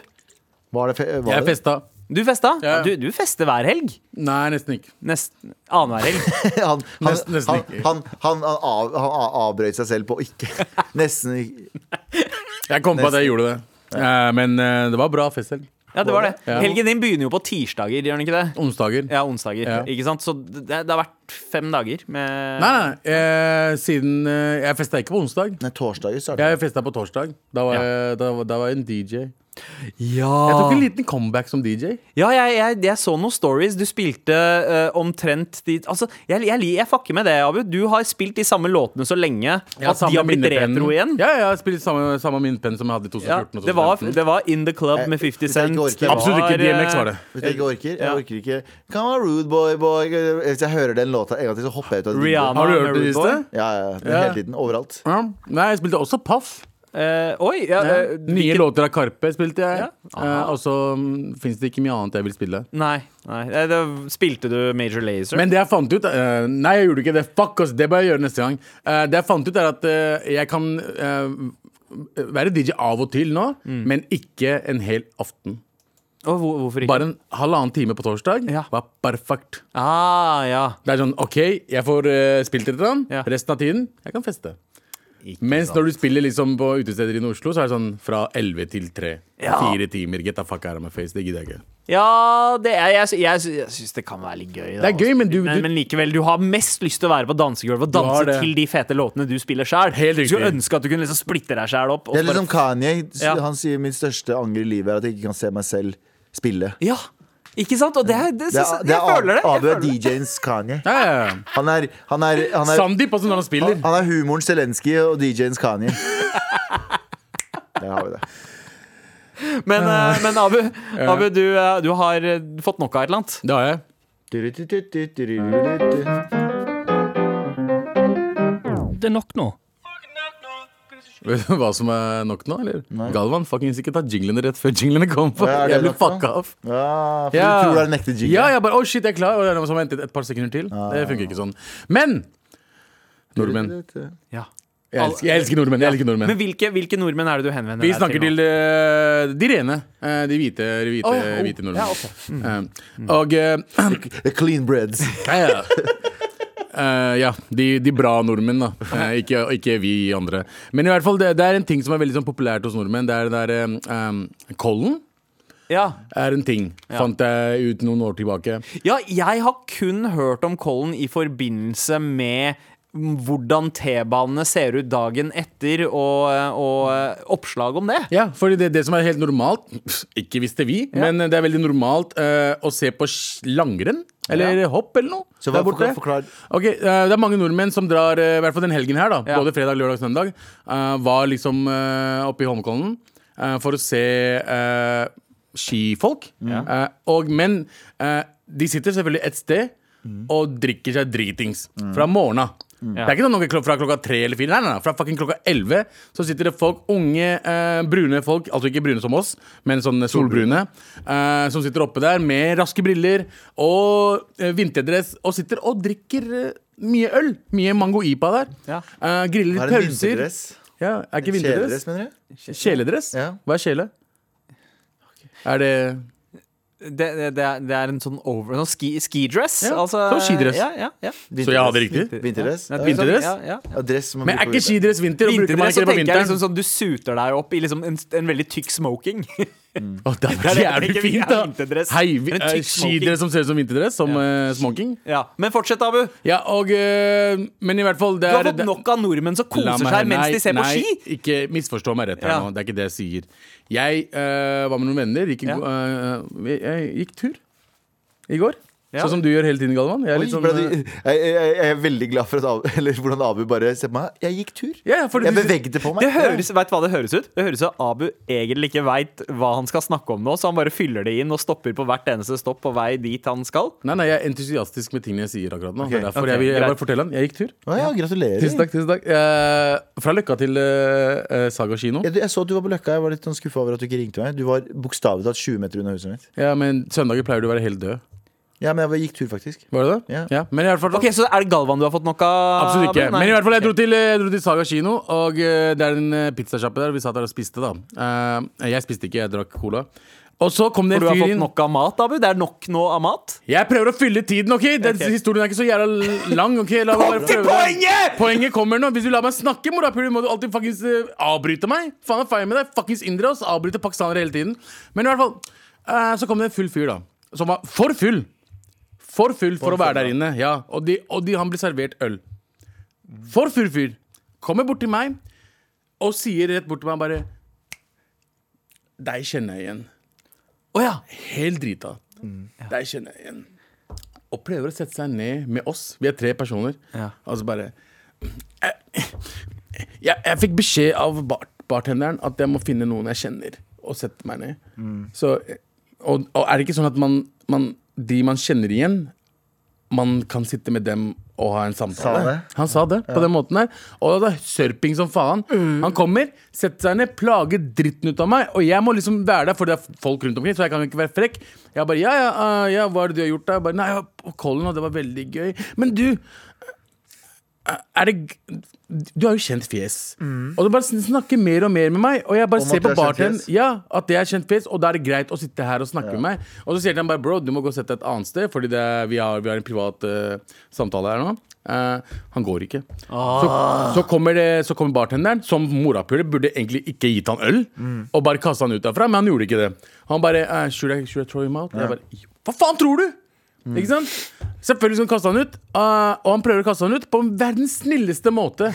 Var det, fe var Jeg det? festa. Du festa? Ja. Du, du fester hver helg. Nei, nesten ikke. Nesten annenhver helg. Han, han, Nesten- nesten han, ikke. han, han, han, av, han av- avbrøt seg selv på ikke Nesten ikke. Jeg kom på at jeg gjorde det. Eh, Men eh, det var bra festhelg. Ja, det var det. Ja. Helgen din begynner jo på tirsdager, gjør den ikke det? Onsdager. Ja, onsdager. Ja. Ikke sant? Så det, det har vært fem dager med Nei, nei, eh, siden eh, Jeg festa ikke på onsdag. Nei, torsdager startet Jeg festa på torsdag. Da var, Ja. jeg, da, da var jeg en DJ. Jeg tok en Ja, liten comeback som DJ. ja jeg, jeg, jeg så noen stories. Du spilte eh, omtrent de Altså, jeg, jeg, jeg fucker med det, Abu. Du har spilt de samme låtene så lenge Ja, at de har samme blitt minnepenn. retro igjen. Ja, ja, jeg spilte samme, samme minnepenn som jeg hadde i 2014. Ja, og 2015. det, var, det var In The Club med Eh, 50 hvis jeg ikke Cent. orker- Det Absolutt ikke eh, DMX var det. Hvis jeg ikke orker, jeg Ja. orker ikke Come on, rude boy, boy Hvis jeg hører den låta en gang til, så hopper jeg ut av vinduet. Rihanna Har du hørt med det Rude i Boy. sted? Ja, ja, den Ja. hele tiden, overalt Ja. Nei, jeg spilte også Paff. Eh, oi! Ja, eh, Nye hvilken- låter av Karpe spilte jeg. Ja. Eh, og så fins det ikke mye annet jeg vil spille. Nei. nei. Eh, Da spilte du Major Lazer. Men det jeg fant ut eh, Nei, jeg gjorde ikke det. Fuck oss, det bør jeg gjøre neste gang. Eh, det jeg fant ut, er at eh, jeg kan eh, være DJ av og til nå, Mm. men ikke en hel aften. Å, hvor, hvorfor ikke? Bare en halvannen time på torsdag Ja. var perfekt. Ah, ja. Det er sånn OK, jeg får eh, spilt litt, grann. Ja. resten av tiden jeg kan feste. Mens når du spiller liksom på utesteder i Oslo, så er det sånn fra 11 til 3. Ja. Fire timer. Get the fuck out of my face. Det gidder jeg ikke. Ja, det er, jeg, sy- jeg, sy- jeg syns det kan være litt gøy. da, Det er gøy, å men spille. du- du- men likevel, du har mest lyst til å være på dansegulvet og Du danse har det. til de fete låtene du spiller sjøl. Helt Du skulle riktig. ønske at du kunne liksom splitte deg sjæl opp. og Det er bare- litt sånn som Kanye Ja. Han sier mitt største anger i livet er at jeg ikke kan se meg selv spille Ja, ikke sant? Og det er, det, Det syns- er, jeg, det er føler det. Jeg Abu føler er det. DJ-ens Kanye Ja, ja, ja. Han er, han er, han er, Sandeep også når han spiller. han er humorens Zelenskyj og DJ-ens Kanye Der har vi det Men, eh, men Abu, Abu du, eh, du har eh, fått nok av et eller annet. Det har jeg. Det er nok nå. Vet du hva som er nok nå, eller? Galvan, fuckings ikke ta jinglene rett før jinglene kom. på Ja, er det jeg blir nok nå? fucka av. Ja, Ah, for du tror det er en ekte jingle. Ah, Ja, jeg bare, oh shit, jeg er klar. Og jeg må så vente et par sekunder til. Det funker ikke sånn. Men nordmenn. Ja. Jeg elsker, jeg elsker nordmenn. Jeg elsker nordmenn. Men hvilke, hvilke nordmenn er det du henvender Vi deg snakker til nå? eh, de rene. eh, de hvite, hvite, Å, ja, å, hvite ja, nordmenn. ok. Eh, og eh, The clean breads. ja, ja. Eh, ja, de, de bra nordmenn, da. Eh, ikke, ikke vi andre. Men i hvert fall, det, det er en ting som er veldig sånn, populært hos nordmenn. Det er den der eh, eh, kollen. Ja. er en ting, fant jeg ut noen år tilbake. ja, jeg har kun hørt om Kollen i forbindelse med mm, hvordan T-banene ser ut dagen etter, og, og eh, oppslag om det. Ja, fordi det, det som er helt normalt, ikke visste vi, men det er veldig normalt eh, å se på sk- langrenn. Eller hopp eller noe. Så hva- forklar- forklar. Ok, eh, det er mange nordmenn som drar, eh, i hvert fall den helgen her, da, Ja. både fredag, lørdag og søndag, eh, var liksom eh, oppe i Holmenkollen eh, for å se eh, skifolk. Eh, og, men eh, de sitter selvfølgelig et sted og drikker seg dritings fra morgena. Det er ikke sånn noe klok fra klokka tre eller fire. Nei, nei, nei, fra fucking klokka elleve så sitter det folk, unge, eh, brune folk, altså ikke brune som oss, men sånne solbrune, eh, som sitter oppe der med raske briller og eh, vinterdress og sitter og drikker eh, mye øl. Mye mango ipa der. Ja. Eh, griller Hva litt er en pølser. vinterdress? Ja, er ikke Kjeledress, vinterdress? mener du? Kjeledress? Ja. Hva er kjele? Er det Det, det, det, er, det er en sånn over Sånn ski, skidress. Ja, altså, som skidress. Ja, ja, ja. Så jeg hadde riktig? Vinterdress? Nei, Vinter- Vinterdress? Ja, ja. Ja, dress som man Men er bruker ikke på vinter. skidress vinter? Og bruker man Vinterdress, så ikke det på tenker jeg vinteren? liksom sånn du suter deg opp i liksom en, en veldig tykk smoking. Å, Det det er er det jeg jævlig tenker, fint, vi er da! vinterdress. Hei, vi- Men eh, tykk smoking. Skidress som ser ut som vinterdress, som eh, smoking. ja. Men fortsett, Abu. Ja, og eh, Men i hvert fall, det Du har er fått det- nok av nordmenn som La koser meg- seg mens nei, de ser på nei, ski. Ikke misforstå meg rett her Ja. nå, det er ikke det jeg sier. Jeg eh, var med noen venner, gikk, en Ja. go- eh, jeg, jeg gikk tur i går. Ja. Sånn som du gjør hele tiden, Galvan. Jeg er Oi, litt sånn, ble eh, du- jeg, jeg, jeg er veldig glad for at Abu, eller, hvordan Abu bare Se på meg, jeg gikk tur. ja, ja, fordi Jeg du- bevegde på meg. Det høres, vet du hva det høres ut? Det høres ut som Abu egentlig ikke veit hva han skal snakke om nå, så han bare fyller det inn og stopper på hvert eneste stopp på vei dit han skal. Nei, nei, jeg er entusiastisk med tingene jeg sier akkurat nå. Det er derfor ok, jeg, vil, jeg greit. bare forteller han. Jeg gikk tur. Å ja, gratulerer. Tusen takk, tusen takk. Eh, fra Løkka til eh, eh, Saga kino. Jeg, jeg så at du var på Løkka. Jeg var litt sånn skuffa over at du ikke ringte meg. Du var bokstavelig talt 20 meter unna huset mitt. Ja, men søndager pleier du å være helt død. Ja, men jeg var- gikk tur, faktisk. Var det det? Ja. Men i hvert fall Ok, Så er det Galvan du har fått nok av? Absolutt ikke. Abu? Ah, Nei. Men i hvert fall, jeg dro til, jeg dro til Saga kino, og eh, det er en eh, pizzasjappe der. Vi satt der og spiste, da. Eh, jeg spiste ikke, jeg drakk cola. Og så kom det For du en har fyr fått inn. nok av mat, Abu? Det er nok nå av mat? Jeg prøver å fylle tiden, OK? Den Ok. historien er ikke så jævla l- lang. ok? La meg bare prøve. poenget! Poenget kommer nå. Hvis du lar meg snakke, morapuler, må du alltid fuckings eh, avbryte meg. Faen er feil med deg. Fuckings indere oss. Avbryter pakistanere hele tiden. Men i hvert fall, eh, så kom det en full fyr, da. Som var for full. For full for, å være der inne. Ja, Og, de, og de, han ble servert øl. For full fyr. Kommer bort til meg og sier rett bort til meg bare Deg kjenner jeg igjen. Å ja. Helt drita. Deg kjenner jeg igjen. Og prøver å sette seg ned med oss. Vi er tre personer. Ja. Og så bare jeg, jeg, jeg fikk beskjed av bar, bartenderen at jeg må finne noen jeg kjenner, og sette meg ned. Så, og, og er det ikke sånn at man, man De man kjenner igjen, man kan sitte med dem og ha en samtale? Sa det? Han sa det på den måten her. Og det er sørping som faen. Han kommer, setter seg ned, plager dritten ut av meg. Og jeg må liksom være der, for det er folk rundt omkring, så jeg kan jo ikke være frekk. Jeg bare ja, ja, ah, ja, hva er det du har gjort da? Jeg bare, Nei, jeg var på Kollen, og det var veldig gøy. Men du er det g- Du har jo kjent fjes. Og du bare sn- snakker mer og mer med meg. Og jeg bare Mm. Om ser at jeg på har kjent bartenderen. fjes? Ja, at jeg har kjent fjes, og da er det greit å sitte her og snakke med meg. Og så sier han bare bro, du må gå og sette deg et annet sted, fordi det er, vi, har, vi har en privat eh, samtale her nå. Eh, han går ikke. Så, så, Ah. kommer det, så kommer bartenderen, som morapuler burde egentlig ikke gitt han øl, Mm. og bare kasta han ut derfra, men han gjorde ikke det. Han bare eh, should, I, should I throw him out? Og Jeg bare, Hva faen tror du? Mm. Ikke sant? Selvfølgelig skal han kaste han ut, eh, og han prøver å kaste han ut på verdens snilleste måte.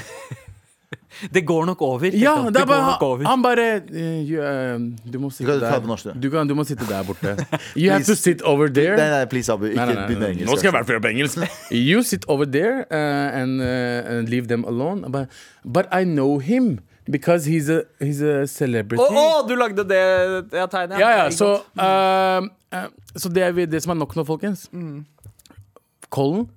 Det går nok over. Ja, tenkte han. det er bare, går nok han, over. han bare eh, you, eh, Du må sitte kan ta det på norsk, der. du. Du, kan, du må sitte der borte. You have to sit over there. Nei, nei, please, Abu. Ikke Nei, nei, nei, begynn nei. med engelsk. altså. Nå skal jeg i hvert fall gjøre på engelsk. eh, You sit over there uh, and, uh, and leave them alone. But, but I know him. Because he's a, he's a celebrity. Å, å, du lagde det ja, tegnet? Ja, ja, så ehm, eh, Så det er vi- det som er nok nå, folkens. Mm. Colin?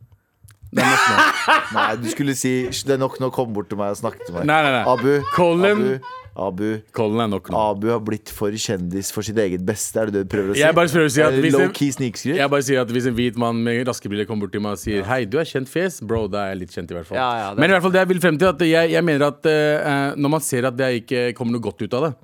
Det er nok nå. Nei, du skulle si «Hysj, Det er nok nå, kom bort til meg og snakke til meg. Nei, nei, nei. Abu, Colin. Abu, Abu, Colin er nok nå. Abu har blitt for kjendis for sitt eget beste, er det det du prøver å si? Jeg bare prøver å si at hvis jeg- Low key snikskryt? Jeg bare sier at Hvis en hvit mann med raske briller kommer bort til meg og sier Hei, du er kjent fjes, bro, da er jeg litt kjent, i hvert fall. Ja, ja, det er Men i hvert fall det jeg vil frem til, at jeg, jeg mener at eh, når man ser at det ikke kommer noe godt ut av det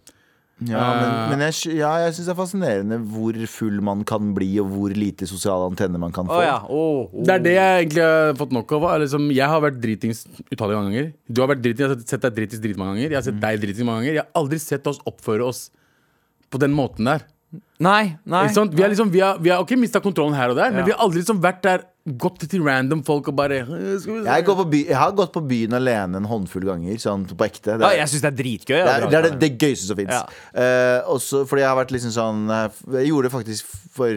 Ja, men, men jeg, sk- ja, jeg syns det er fascinerende hvor full man kan bli, og hvor lite sosiale antenner man kan få. Å, ja. Å, å. Det er det jeg egentlig har fått nok av. er Liksom, jeg har vært dritings utallige mange ganger. Du har vært dritings, jeg har sett deg dritings dritmange ganger. Jeg har Mm. sett deg dritings mange ganger. Jeg har aldri sett oss oppføre oss på den måten der. Nei, nei. Ikke sant? Vi har liksom, vi har, vi har ok, mista kontrollen her og der, Ja. men vi har aldri liksom vært der, gått til random folk og bare «Øh, skal vi se?» Jeg, går på by, jeg har gått på byen alene en håndfull ganger, sånn på ekte. Det Ja, er, jeg syns det er dritgøy. det, er, det, er det, det, det gøyeste som fins. Ja. fordi jeg har vært liksom sånn Jeg gjorde det faktisk for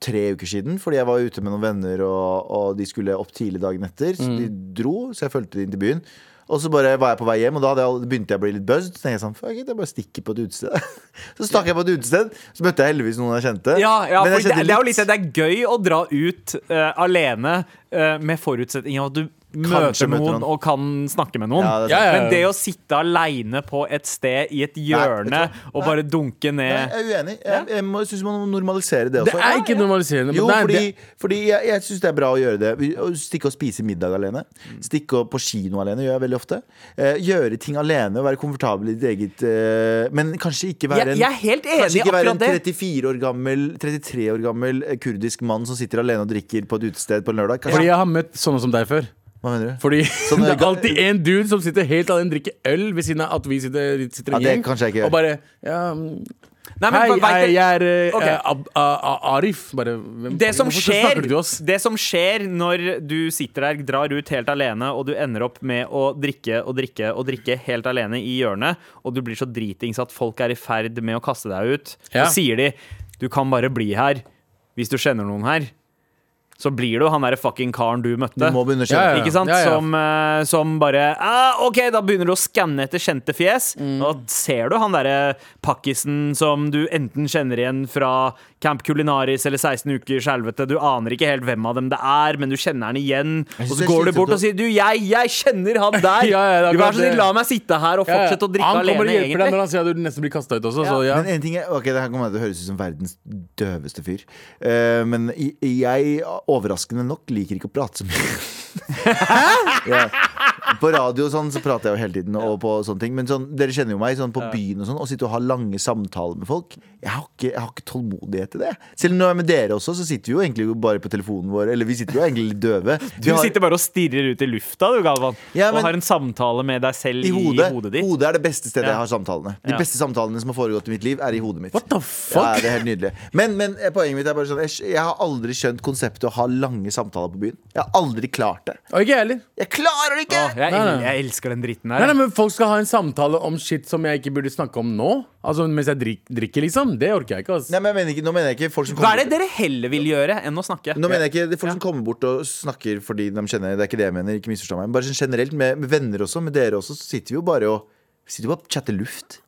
tre uker siden, fordi jeg var ute med noen venner, og, og de skulle opp tidlig dagen etter. Så de Mm. dro, så jeg fulgte de inn til byen. Og så bare var jeg på vei hjem, og da hadde jeg, all- begynte jeg å bli litt buzzed. Så tenkte jeg sånn, fuck it, jeg bare stikker på et utested. Så stakk jeg på et utested, så møtte jeg heldigvis noen jeg kjente. ja, ja, Men for jeg det, kjente det er jo litt det. Det er gøy å dra ut eh, alene eh, med forutsetning av at du møter Kanskje møter noen noen. og kan snakke med noen. Ja, det er sant. Ja, ja, ja. Men det å sitte aleine på et sted i et hjørne vet og bare dunke ned Jeg er uenig. Jeg, jeg, må- jeg syns man må normalisere det også. Det er ikke normaliserende. Jo, men det er- fordi, det, fordi jeg, jeg syns det er bra å gjøre det. Vi- å Stikke og spise middag alene. Stikke og på kino alene gjør jeg veldig ofte. Eh, gjøre ting alene og være komfortabel i ditt eget eh, Men kanskje ikke være jeg, en jeg er helt enig Kanskje i ikke være en akkurat det. 34 år gammel 33 år gammel eh, kurdisk mann som sitter alene og drikker på et utested på en lørdag. Kanskje, fordi jeg har møtt sånne som deg før. Hva mener du? Fordi Sånn det er ga- alltid en dude som sitter helt alene og drikker øl ved siden av at vi sitter, sitter Ja, i det gjeng, kanskje jeg ikke gjør. og bare ja, mm, Nei, men Hei, vet jeg, du- jeg er eh, Ok. eh, Ab- A- A- Arif. Bare, hvem, det som, hvorfor skjer, snakker du til oss? det som skjer når du sitter der, drar ut helt alene, og du ender opp med å drikke og drikke og drikke helt alene i hjørnet, og du blir så dritings at folk er i ferd med å kaste deg ut, Ja. så sier de 'du kan bare bli her hvis du kjenner noen her'. Så blir du han derre fucking karen du møtte. Du må begynne å kjenne. Ja, ja. Ikke sant? Som, eh, som bare ah, OK, da begynner du å skanne etter kjente fjes. Mm. Og ser du han derre pakkisen som du enten kjenner igjen fra Camp Culinaris eller 16 ukers helvete. Du aner ikke helt hvem av dem det er, men du kjenner han igjen. Jeg synes Og så det er går du bort slitsomt å- og sier Du, jeg, jeg kjenner han der! Ja, ja, det er du, vær akkurat så snill, det. la meg sitte her og Ja, ja. fortsette å drikke Han kommer og alene, hjelper deg egentlig. når han sier at du nesten blir kasta ut også. Så, ja. Men en ting er, ok, det her kommer til å høres ut som verdens døveste fyr. Eh, men i- jeg, overraskende nok, liker ikke å prate så mye. ja. På radio og sånn, så prater jeg jo hele tiden, og på sånne ting. Men sånn, dere kjenner jo meg sånn, på byen og sånn, og sitter og har lange samtaler med folk. Jeg har ikke, jeg har ikke tålmodighet til det. Selv når jeg er med dere også, så sitter vi jo egentlig bare på telefonen vår. Eller vi sitter jo egentlig litt døve. Vi Du har- sitter bare og stirrer ut i lufta, du, Galvan. Ja, men- og har en samtale med deg selv i hodet. ditt. Hodet er det beste stedet Ja. jeg har samtalene. De Ja. beste samtalene som har foregått i mitt liv, er i hodet mitt. What the Ja, fuck? det er helt nydelig. Men, men eh, poenget mitt er bare sånn jeg, skj- jeg har aldri skjønt konseptet å ha lange samtaler på byen. Jeg har aldri klart det. Og ikke jeg heller. Jeg klarer det ikke! Å, jeg, Nei, nei. jeg elsker den dritten Nei, her. nei, men folk skal ha en samtale om shit som jeg ikke burde snakke om nå. Altså mens jeg drik, drikker, liksom. Det orker jeg ikke. ass. Nei, men jeg mener ikke, nå mener jeg ikke folk som Hva kommer er det dere heller vil gjøre enn å snakke? nå mener jeg ikke de folk som kommer bort og snakker fordi de kjenner Det er ikke det jeg mener. ikke misforstå meg Men Bare sånn generelt med, med venner også, med dere også, så sitter vi jo bare og Sitter jo bare og chatter luft.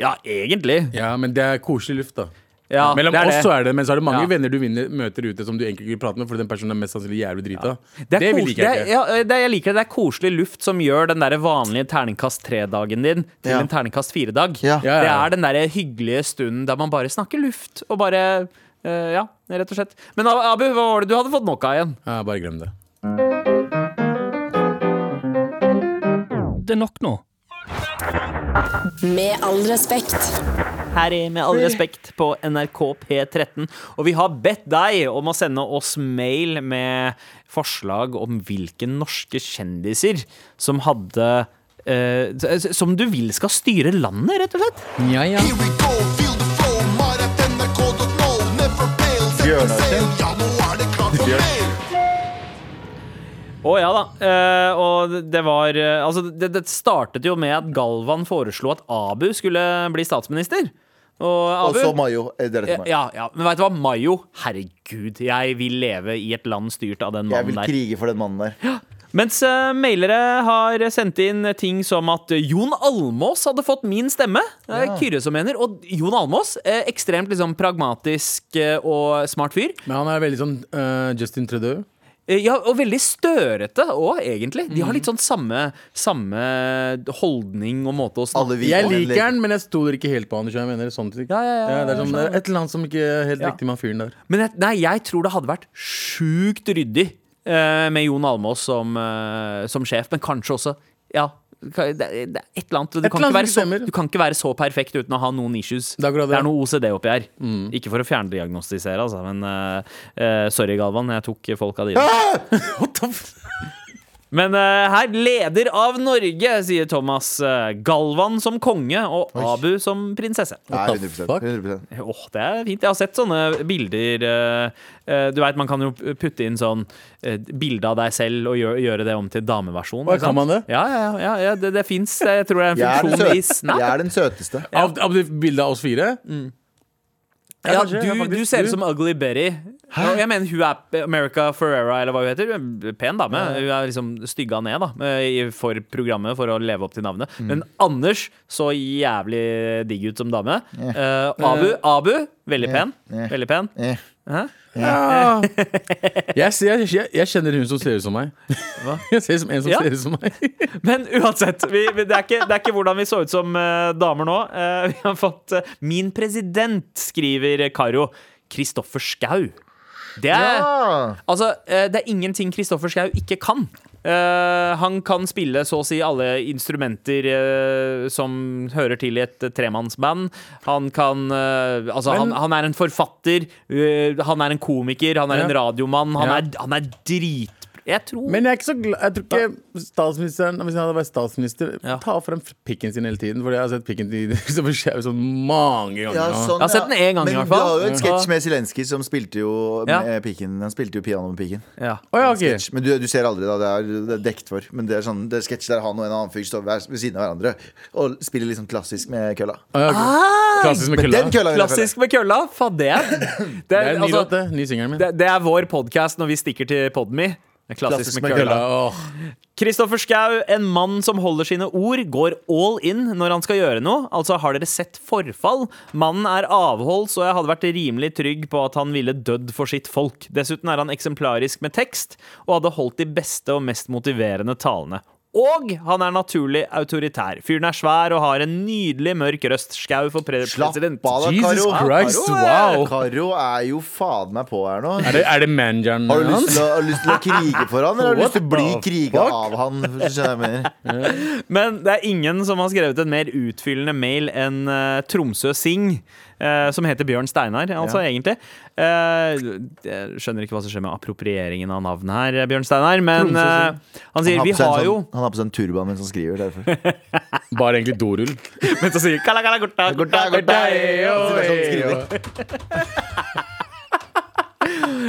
Ja, egentlig. Ja, men det er koselig luft, da. Ja, Mellom det er oss det. så er det, men så er det mange Ja. venner du vinner, møter ute som du egentlig ikke vil prate med, fordi den personen er mest sannsynlig jævlig drita. Det Det, er vil kos- ikke jeg det ikke. er- ja, det, jeg liker det. Det er koselig luft som gjør den der vanlige terningkast tre-dagen din til Ja. en terningkast fire-dag. Ja. Ja, ja, Det ja. er den der hyggelige stunden der man bare snakker luft og bare eh, Ja, rett og slett. Men Abu, hva var det du hadde fått nok av igjen? Ja, bare glem det. Det er nok nå. Med all respekt. her i Med all respekt på NRK P13. Og vi har bedt deg om å sende oss mail med forslag om hvilke norske kjendiser som hadde eh, s- Som du vil skal styre landet, rett og slett. Ja, ja. Bjørnar Å ja da. Eh, og det var eh, Altså, det, det startet jo med at Galvan foreslo at Abu skulle bli statsminister. Og Og Abu så Mayo. eh, Deretter Mayo. ja, ja, men veit du hva, Mayo? Herregud, jeg vil leve i et land styrt av den Jeg mannen vil der. krige for den mannen der. Mens eh, mailere har sendt inn ting som at Jon Almås hadde fått min stemme. Det er Kyrre som mener. Og Jon Almås, eh, ekstremt liksom pragmatisk eh, og smart fyr. Men han er veldig sånn eh, Justin Trudeau. Eh, Ja, og veldig størete òg, egentlig. De har litt sånn samme, samme holdning og måte å snakke Alle vi Jeg liker han, men jeg stoler ikke helt på han. skjønner du hva Jeg mener, sånn, ja, ja, ja, det, er sånn, det er et eller annet som ikke er helt riktig med han fyren der. Men jeg, nei, jeg tror det hadde vært sjukt ryddig eh, med Jon Almås som, eh, som sjef, men kanskje også Ja, ka- det, det er et eller annet. Du, Et kan ikke eller annet være så, som ikke stemmer. du kan ikke være så perfekt uten å ha noen issues. Det er akkurat det. Mm. noe OCD oppi her. Ikke for å fjerndiagnostisere, altså, men eh, eh, sorry, Galvan, jeg tok folka dine. Ah! Men eh, her leder av Norge, sier Thomas. eh, Galvan som konge og Abu som prinsesse. Nei, What the 100%, fuck? 100%. Åh, det er fint. Jeg har sett sånne bilder eh, eh, Du vet, man kan jo putte inn sånn eh, bilde av deg selv og gjøre, gjøre det om til dameversjon. Åh, ikke sant? kan man det? Ja, ja, ja, ja det, det fins. Jeg tror det er en Jeg er, den funksjon i søt- Snap. jeg er den søteste. Av, av det bildet av oss fire? Ja, Mm. Ja, kanskje, ja, du, faktisk. du ser ut Du- som Ugly Betty. Og jeg mener hun er America Ferrera, eller hva hun heter. Hun er en Pen dame. Hun er liksom stygga ned da eh, i- for programmet for å leve opp til navnet. Mm. Men Anders så jævlig digg ut som dame. Eh, Abu, Abu veldig pen. Veldig pen. Eh. Ja. Jeg, ser- jeg, jeg, jeg kjenner hun som ser ut som meg. Jeg ser ut som en som Ja. ser ut som meg. Men uansett, vi, vi- det, er ikke, det er ikke hvordan vi så ut som eh, damer nå. Eh, vi har fått eh, 'Min president', skriver Karo. Kristoffer Schau. Det er, Ah. altså, eh, det er ingenting Kristoffer Schau ikke kan. Eh, han kan spille så å si alle instrumenter eh, som hører til i et eh, tremannsband. Han kan eh, Altså, han, han er en forfatter, eh, han er en komiker, han er Ja. en radiomann. Han, Ja. er, han er drit... Jeg tror Men jeg er ikke så glad Jeg tror ikke statsministeren Hvis han hadde vært statsminister, Ja. ta frem pikken sin hele tiden. Fordi jeg har sett pikken til Kristoffer Schau sånn mange ganger. Ja, nå. sånn, Jeg har sett den ja. en gang i Men hvert fall. du har jo en Ja. sketsj med Zelenskyj som spilte jo Ja. med piken. Han spilte jo piano med piken. ja. Å ja, ok. Men du, du ser aldri, da. Det er, det er dekt for. Men det er sånn, det er sketsj der han og en annen fyr står hver- ved siden av hverandre og spiller liksom klassisk med kølla. Å ja, ok. Klassisk med Men kølla. den kølla vil jeg følge. Klassisk med kølla. Faen, det er Det er, Det er en ny altså, låt, det. Ny singelen min. det, det er vår podkast når vi stikker til Podme. Det er Klassisk, Klassisk med med kølla. Åh. Kristoffer Schau, en mann som holder sine ord, går all in når han skal gjøre noe. Altså, har dere sett forfall? Mannen er avholds, og jeg hadde vært rimelig trygg på at han ville dødd for sitt folk. Dessuten er han eksemplarisk med tekst, og hadde holdt de beste og mest motiverende talene. Og han er naturlig autoritær. Fyren er svær og har en nydelig mørk røst. Schau for pre Slapp av, president. da, Jesus Karo. Christ, Karo, er- wow! Karo er jo faen meg på her nå. Er det, er det manageren Har du, lyst hans? til å, har du lyst til å krige for han, eller har du lyst til å bli What the kriga av han? Hvis du skjønner hva jeg mener. Men det er ingen som har skrevet en mer utfyllende mail enn eh, Tromsø Sing, eh, som heter Bjørn Steinar, altså, egentlig. Eh, jeg skjønner ikke hva som skjer med approprieringen av navnet her, eh, Bjørn Steinar, men eh, han sier Han vi på seg en har sånn- jo Han har på seg en turban mens han skriver. Derfor. Bare egentlig dorull. Men så sier kala, kala, gorta, gorta, gorta, eyo, Så det er sånn han eyo. skriver.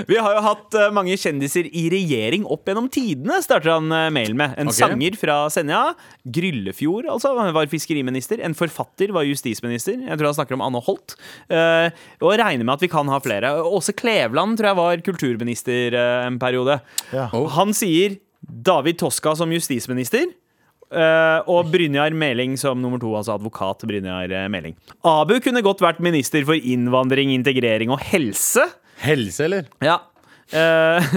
Vi har jo hatt eh, mange kjendiser i regjering opp gjennom tidene, starter han eh, mail med. En Ok. sanger fra Senja. Gryllefjord, altså, han var fiskeriminister. En forfatter var justisminister. Jeg tror han snakker om Anne Holt. Eh, og regner med at vi kan ha flere. Åse Kleveland tror jeg var kulturminister eh, en periode. Ja. Han sier David Toska som justisminister. Eh, og Brynjar Meling som nummer to, altså advokat Brynjar eh, Meling. Abu kunne godt vært minister for innvandring, integrering og helse. Helse, eller? Ja. Eh,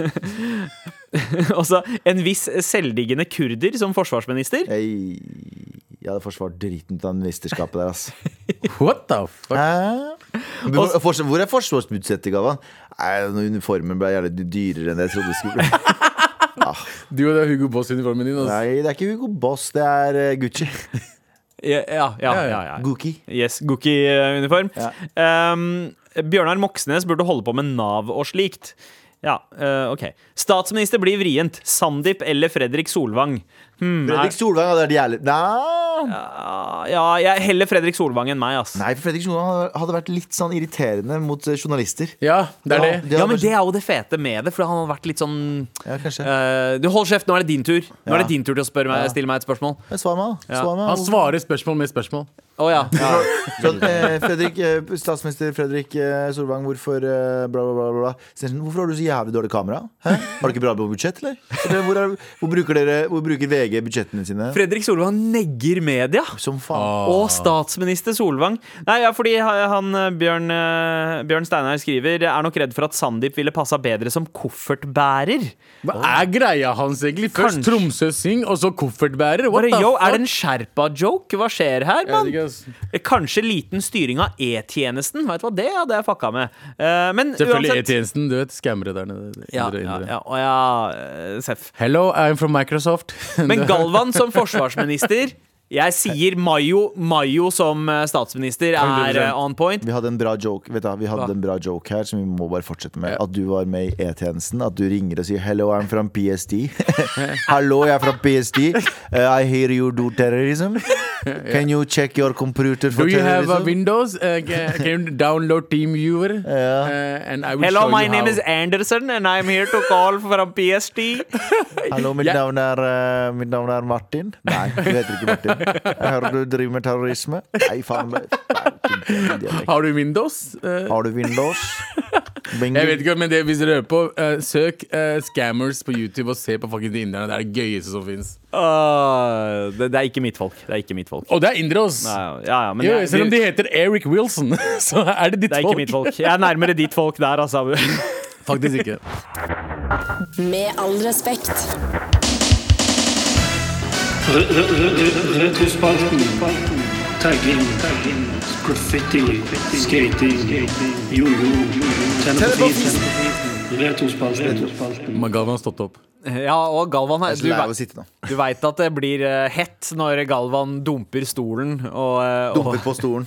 også en viss selvdiggende kurder som forsvarsminister. Jeg, jeg hadde forsvart driten ut av ministerskapet der, ass. What the fuck? Hvor, fors- hvor er forsvarsbudsjettet, Galvan? Nei, når uniformen ble jævlig dyrere enn det jeg trodde det skulle bli. Du og det er Hugo Boss-uniformen din. Altså. Nei, det er ikke Hugo Boss, det er eh, Gucci. Ja, ja, ja, ja, ja. Gucci. Yes, Gookie-uniform. Bjørnar Moxnes burde holde på med Nav og slikt. Ja, eh, ok Statsminister blir vrient. Sandeep eller Fredrik Solvang. Fredrik Solvang hadde vært jævlig Nei, Ah, Ja, jeg heller Fredrik Solvang enn meg, ass. Nei for Fredrik Solvang hadde vært litt sånn irriterende mot eh, journalister. Ja, det er det. de hadde Ja, men vært- det er jo det fete med det, for han har vært litt sånn Ja, kanskje. eh, Du, hold kjeft, nå er det din tur. Nå Ja. er det din tur til å spørre meg, stille meg et spørsmål. Men Svar meg, da. Ja. Svar meg. Han svarer spørsmål med spørsmål. Å ja. Så at, eh, Fredrik, eh, statsminister Fredrik eh, Solvang, hvorfor eh, bla, bla, bla, bla. Sier han, Hvorfor har du så jævlig dårlig kamera? Hæ? Har du ikke bra budsjett, eller? eller hvor, er, hvor, bruker dere, hvor bruker VG budsjettene sine? Fredrik Solvang negger media. Som faen. Ah. Og statsminister Solvang. Nei, ja, fordi han eh, Bjørn, eh, Bjørn Steinar skriver er nok redd for at Sandeep ville passa bedre som koffertbærer. Hva er greia hans egentlig? Først Kanskje. Tromsø Syng, og så koffertbærer? What Bare, the yo, fuck? er det en sherpa-joke? Hva skjer her, Jeg vet mann? ikke, ass. Kanskje liten styring av E-tjenesten? Vet du hva, det hadde jeg fucka med. Eh, men Selvfølgelig uansett E-tjenesten. Du vet, skammere der nede. ja, Indre, ja, indre. ja, og ja, eh, Seff. Hello, I'm from Microsoft. Men Galvan som forsvarsminister Jeg sier Mayo, Mayo som eh, statsminister er eh, on point. Vi hadde en bra joke Vet du, hva, vi Ah. hadde en bra joke her som vi må bare fortsette med. At du var med i E-tjenesten. At du ringer og sier 'Hello, I'm from PST'. 'Hallo, jeg er fra PST'. Uh, 'I hear you do terrorism'. 'Can you check your computer for Do you have a terrorism?' Windows? Uh, ca- can you download TeamViewer? Ja. Uh, and I will Hello, show my you name how. is Anderson, and I'm here to call from PST. Hallo, mitt, Jeg- navn er, eh, mitt navn er Martin. Nei, du heter ikke Martin. Jeg hører du driver med terrorisme. Nei, faen. det er dialekt. Har du Windows? Uh, Har du Windows? Bing, jeg vet ikke, men det hvis dere hører på, uh, søk uh, scammers på YouTube og se på fucking de inderne. Det er det gøyeste som fins. Åh, Ah, det, det er ikke mitt folk. Det er ikke mitt folk. Og det er indre, ass! Nei, ja, ja, men Jo, jeg- selv om det, de heter Eric Wilson, så er det ditt det er ikke mitt folk. Jeg er nærmere ditt folk der, altså. Faktisk ikke. Med all respekt. Retrospalten. Tagging. Graffiti. Skating. Jojo. Tennepapir. Retrospalten. Men Galvan har stått opp. Ja, og Galvan her, Jeg er så du, lei av å vei- sitte nå. du veit at det blir eh, hett når Galvan dumper stolen og, eh, og Dumper på stolen.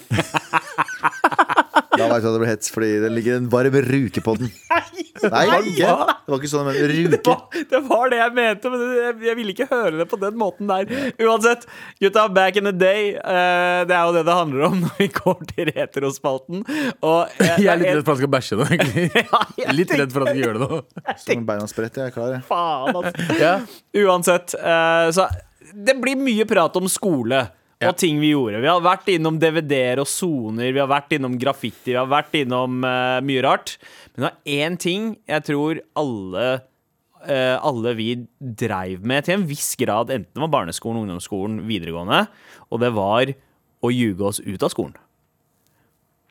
Da veit du at det blir hets, fordi det ligger en varm ruke på den. Nei, ikke. det var ikke sånn, men Hva? ruke. Det var det jeg mente, men jeg, jeg ville ikke høre det på den måten der. Uansett, gutta, back in the day. eh, det er jo det det handler om når vi går til retrospalten. Og eh, Jeg er litt det redd for at han skal bæsje nå, egentlig. Ja, jeg Litt tenkte- redd for at han skal gjøre det nå. Som beina spredt. Jeg er klar, jeg. Faen, altså. Uansett, eh, så det blir mye prat om skole. Og ting vi gjorde. Vi har vært innom DVD-er og soner, vi har vært innom graffiti, vi har vært innom eh, mye rart. Men det var én ting jeg tror alle eh, alle vi dreiv med til en viss grad, enten det var barneskolen, ungdomsskolen, videregående, og det var å ljuge oss ut av skolen.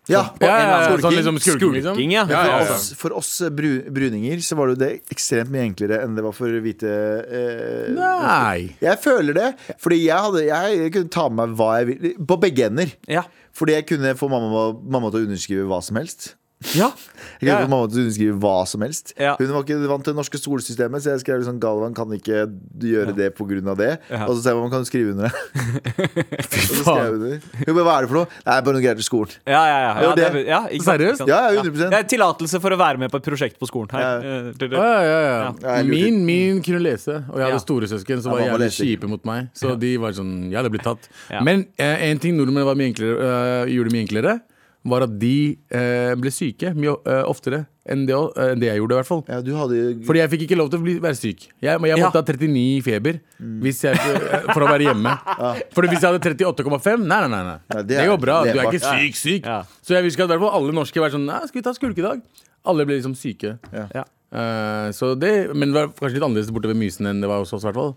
Ja, Ja, ja, ja, sånn Skulking. liksom skulking, liksom. Skulking, ja. Ja, ja, For ja. oss, for oss eh, bru, bruninger så var det jo det ekstremt mye enklere enn det var for hvite eh, Nei. Jeg føler det, fordi jeg, hadde, jeg kunne ta med meg hva jeg ville På begge ender. Ja. Fordi jeg kunne få mamma, mamma til å underskrive hva som Ja. helst. Jeg kunne Ja, ja. få mamma til å underskrive hva som helst Ja. Hun var ikke vant til det norske skolesystemet, så jeg skrev liksom Galvan kan ikke gjøre det pga. det. Og så sa jeg mamma, kan du skrive under det? Og så skrev hun under. Hun bare, hva er det for noe? Nei, bare noe greier til skolen. Ja, ja, ja. ja, Det var det, det. ja ikke sant, ikke Seriøst? sant. Ja, ja, 100 Det er tillatelse for å være med på et prosjekt på skolen her. Ja, Eh, ja, ja, Ja, ja. jeg lurer Min, min kunne lese, og jeg Ja. hadde storesøsken Ja, som var mamma jævlig leste ikke. kjipe mot meg. Så de var sånn Jeg hadde blitt tatt. Ja. Men eh, en ting nordmenn var mye enklere, eh, gjorde mye enklere, var at de eh, ble syke mye eh, oftere enn det, eh, enn det jeg gjorde, i hvert fall. Ja, du hadde Fordi jeg fikk ikke lov til å bli, være syk. Jeg, men jeg Ja. måtte ha 39 i feber hvis jeg, eh, for å være hjemme. For hvis jeg hadde 38,5 Nei, nei, nei. nei. Nei, det det, er går bra. Du er levbart. ikke syk, syk. Ja. Så jeg husker at i hvert fall alle norske var sånn Nei, skal vi ta skulkedag? Alle ble liksom syke. Ja. Eh, så det, men det var kanskje litt annerledes borte ved Mysen enn det var hos oss. i hvert fall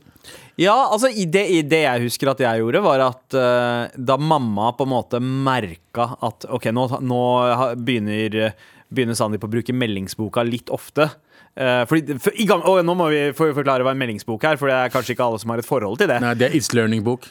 Ja, altså i det, i det jeg husker at jeg gjorde, var at eh, da mamma på en måte merka at OK, nå, nå ha- begynner, begynner Sandeep å bruke meldingsboka litt ofte. Eh, fordi, for, i gang, og nå må vi for, forklare hva en meldingsbok er, for det er kanskje ikke alle som har et forhold til det. Nei, det er It's Learning-bok.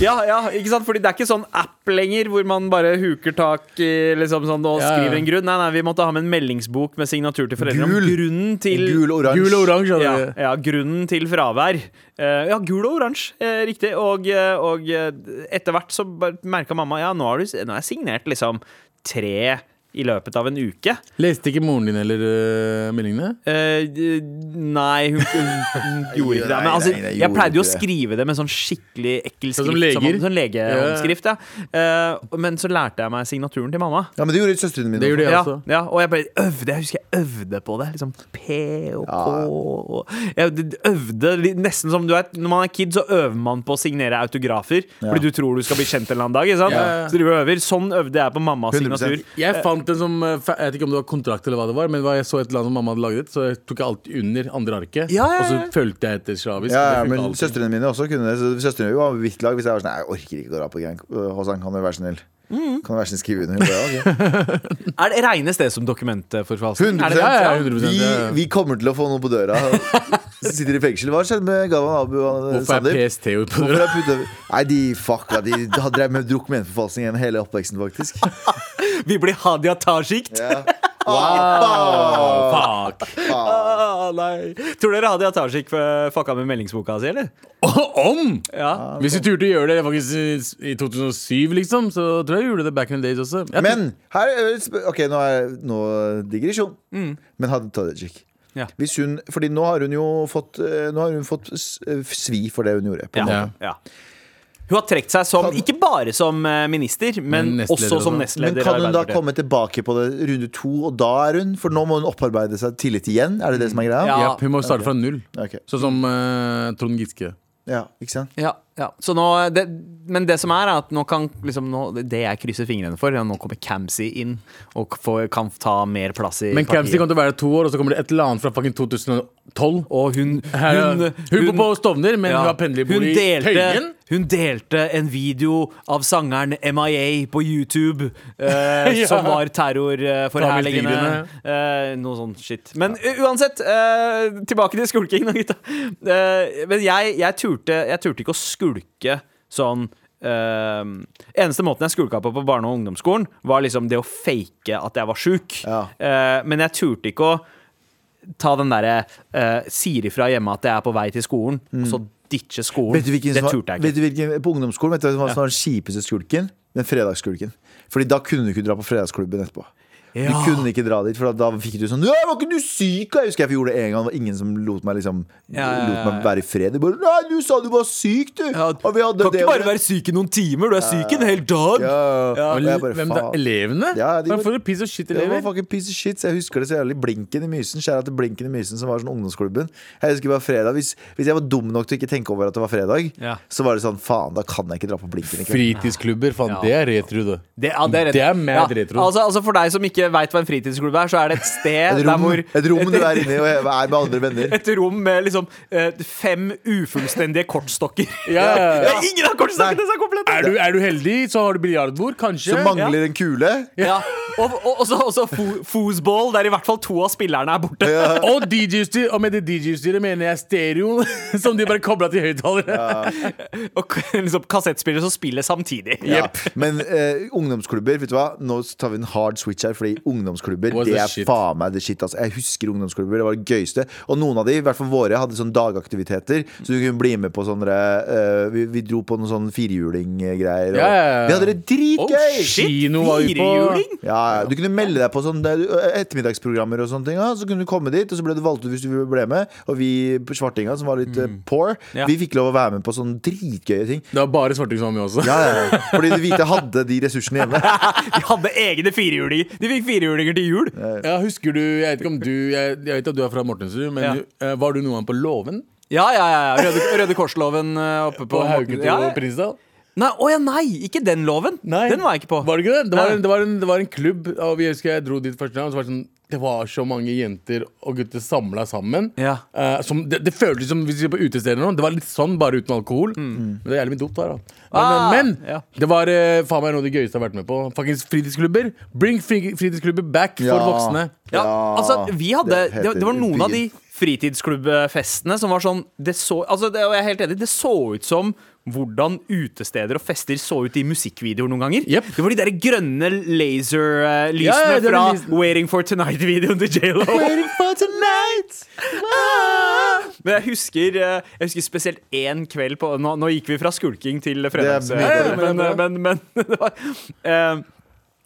Ja, ja, ikke sant? Fordi det er ikke sånn app lenger hvor man bare huker tak i liksom sånn, og Ja, ja. skriver en grunn. Nei, nei, vi måtte ha med en meldingsbok med signatur til foreldre om grunnen til gul og oransje. Gul og oransje. ja, hadde vi. ja, grunnen til fravær. Eh, ja, gul og oransje, eh, riktig. Og, eh, og eh, etter hvert så merka mamma ja, nå, har du, nå har jeg signert liksom tre i løpet av en uke. Leste ikke moren din eller øh, meldingene? Eh, d- nei, hun, hun gjorde ikke det. Men Nei, altså, nei, nei, jeg gjorde pleide jo å ikke det. skrive det med sånn skikkelig ekkel skrift. Sånn som leger? Sånn, sånn legehåndskrift, ja. Eh, men så lærte jeg meg signaturen til mamma. Ja, men det gjorde søstrene mine. Det gjorde også. jeg Ja, også. ja, og jeg bare øvde. Jeg husker jeg øvde på det. Liksom P og K og Jeg d- øvde li- nesten som du vet Når man er kid, så øver man på å signere autografer. Fordi du tror du skal bli kjent en eller annen dag. Ikke sant? Ja. Så du øver. Sånn øvde jeg på mammas 100%. signatur. Jeg fant en som eh, fa- Jeg vet ikke om det var kontrakt eller hva det var, men hva- jeg så et eller annet som mamma hadde laget, så jeg tok alt under andre arket. Ja, ja, Og så ja. fulgte jeg etter slavisk. Ja, ja, og det funket men alltid. søstrene mine også kunne det. Så Søstrene var hvitt lag hvis jeg var sånn Nei, jeg orker ikke gå av på Grand øh, Hosan, kan du være snill? Mm. Kan du være snill skrive under? Hun bare, «Ja, ok». Er det Regnes det som dokumentforfalskning? 100 Er det det? Ja, ja, vi, 100%, ja, ja. vi kommer til å få noe på døra. Sitter i fengsel. Hva skjedde med Galvan Abu og eh, Hvorfor er Sandeep? PST ute på Hvorfor døra? er putta Nei, de fucka. De har drevet med dokumentforfalskning gjennom hele oppveksten, faktisk. Vi blir Hadia Tajik. Fuck! Ah, nei. Tror dere Hadia Tajik eh, fucka med meldingsboka si, eller? Om! Ja. Hvis du turte å gjøre det faktisk i- i 2007, liksom, så tror jeg jeg gjorde det back in the days også. Jeg- Men her er et sp- Ok, nå er nå digresjon. Men hadde Tadjik Mm. Ja. Hvis hun, fordi nå har hun jo fått eh, Nå har hun fått s- eh, svi for det hun gjorde. På en måte. Ja. ja. Hun har trukket seg som, ikke bare som eh, minister, men, Men nestleder også som også. Men nestleder. i kan hun da Arbeiderpartiet. komme tilbake på det runde to, og da er hun? For nå må hun opparbeide seg tillit igjen? Er det det som er greia? Ja. Ja, hun må starte fra null. Ok. Sånn som eh, Trond Giske. Ja, ikke sant? Ja, ja. Så nå, det, men det som er, er at nå kan liksom nå, Det jeg krysser fingrene for, er at nå kommer Camzy inn og får, kan ta mer plass i Men Camzy partiet. kommer til å være to år, og så kommer det et eller annet fra fucking 2012. Og hun Her, hun, Hun, bor på Stovner, men ja. hun har pendlerbolig Hun i Tøyen. delte, hun delte en video av sangeren MIA på YouTube, eh, Ja. som var terrorforherligende. Eh, noe sånn shit. Men u- uansett, eh, tilbake til skulking, da, gutta. Eh, men jeg, jeg, turte, jeg turte ikke å skulke sånn eh, eneste måten jeg skulka på på barne- og ungdomsskolen, var liksom det å fake at jeg var sjuk. Ja. Eh, men jeg turte ikke å ta den derre eh, sier ifra hjemme at jeg er på vei til skolen, og så ditche skolen. Vet du hvilken det som var, turte jeg vet ikke. du hvilken, på ungdomsskolen vet du hva som var den kjipeste skulken? Den fredagsskulken. Fordi da kunne du ikke dra på fredagsklubben etterpå. Du Ja. kunne ikke dra dit, for da fikk du sånn «Nei, 'Var ikke du syk?' Jeg husker jeg gjorde det en gang. Det var ingen som lot meg liksom ja, ja, Lot meg være i fred. De bare 'Nei, du sa du var syk, du!' Ja, og vi hadde kan det ikke og bare det. være syk i noen timer, du er syk en hel dag! ja. Og Og jeg bare, Hvem da? faen. Elevene? Ja, de Hva var- for en piece of shit Det var elever? fucking piece of shit. Så jeg husker det så jævlig. Blinken i Mysen. Kjære til Blinken i Mysen, som var sånn ungdomsklubben. Jeg husker bare fredag Hvis, hvis jeg var dum nok til å ikke tenke over at det var fredag, Ja. så var det sånn faen, da kan jeg ikke dra på Blinken. i kveld. Fritidsklubber, faen, Ja. det er retro, det. Det, ja, det er, rett. Det er mad retro. Altså, altså For deg som ikke veit hva en fritidsklubb er, så er det et sted Et der rom, hvor et rom du er inne i og er med andre venner. et rom med liksom eh, fem ufullstendige kortstokker. Ja, ja, ja. Ja, ingen av kortstokkene som er komplette! Er du, er du heldig, så har du biljardbord, kanskje. Som mangler en kule. Ja. Og, og, og så også fo foosball, der i hvert fall to av spillerne er borte. Og DJ-styr. Og med det DJ-styret mener jeg stereo, som de bare kobla til høyttalere. Og k- liksom kassettspillere som spiller samtidig. Ja. Men eh, ungdomsklubber, vet du hva? Nå tar vi en hard switch her, fordi ungdomsklubber Was det the er shit. faen meg det shit. Altså. Jeg husker ungdomsklubber, det var det gøyeste. Og noen av de, i hvert fall våre, hadde sånne dagaktiviteter. Så du kunne bli med på sånne eh, vi, vi dro på noen sånne firehjuling-greier. og- Ja, ja, ja. Vi hadde det dritgøy! Oh, shit. Kino var vi på. Firehjuling? ja, ja. Du kunne melde deg på sånn der- ettermiddagsprogrammer og sånne ting. Ja. Så kunne du komme dit, og så ble du valgt ut hvis du ble med. Og vi svartinga, som var litt Mm. eh, poor, Ja. vi fikk lov å være med på sånne dritgøye ting. Det var bare svarting som var med også. Ja, ja, ja. Fordi de hvite hadde de ressursene hjemme. De hadde egne firehjulinger. De fikk firehjulinger til jul. Ja, husker du, Jeg vet ikke om du Jeg, jeg vet at du er fra Mortensrud, men Ja. du, eh, var du noen gang på Låven? Ja, ja, ja. ja. Røde, Røde Kors-loven eh, oppe på På Hauketo ja, og ja. Prinsdal? Nei, å ja, nei! Ikke den loven. Den var jeg ikke på. Var det ikke det? Det var, Nei. en, det, var en, det var en klubb, og jeg husker jeg dro dit første gang. og Så var det, sånn, det var så mange jenter og gutter samla sammen. Ja. Eh, som, det, det føltes som hvis vi var på utesteder eller noe. Det var litt sånn, bare uten alkohol. Men det er jævlig mye dop der, da. Men, Mm. Ah, men ja. det var eh, faen meg noe av det gøyeste jeg har vært med på. Faktisk fritidsklubber. Bring fri- fritidsklubber back Ja. for voksne. Ja, Ja, altså, vi hadde det Det, heter det, var noen av de byen. fritidsklubbfestene som var sånn Det så, altså, det, og jeg er helt enig, det så ut som hvordan utesteder og fester så ut i musikkvideoer noen ganger. Jep. Det var de der grønne laserlysene Ja, ja, det fra var lysene. Waiting for Tonight-videoen til J.Lo. Waiting for tonight Ah! Men jeg husker, eh, jeg husker spesielt én kveld på Nå, nå gikk vi fra skulking til eh, er fredags... mye Men, men, men, men det var eh,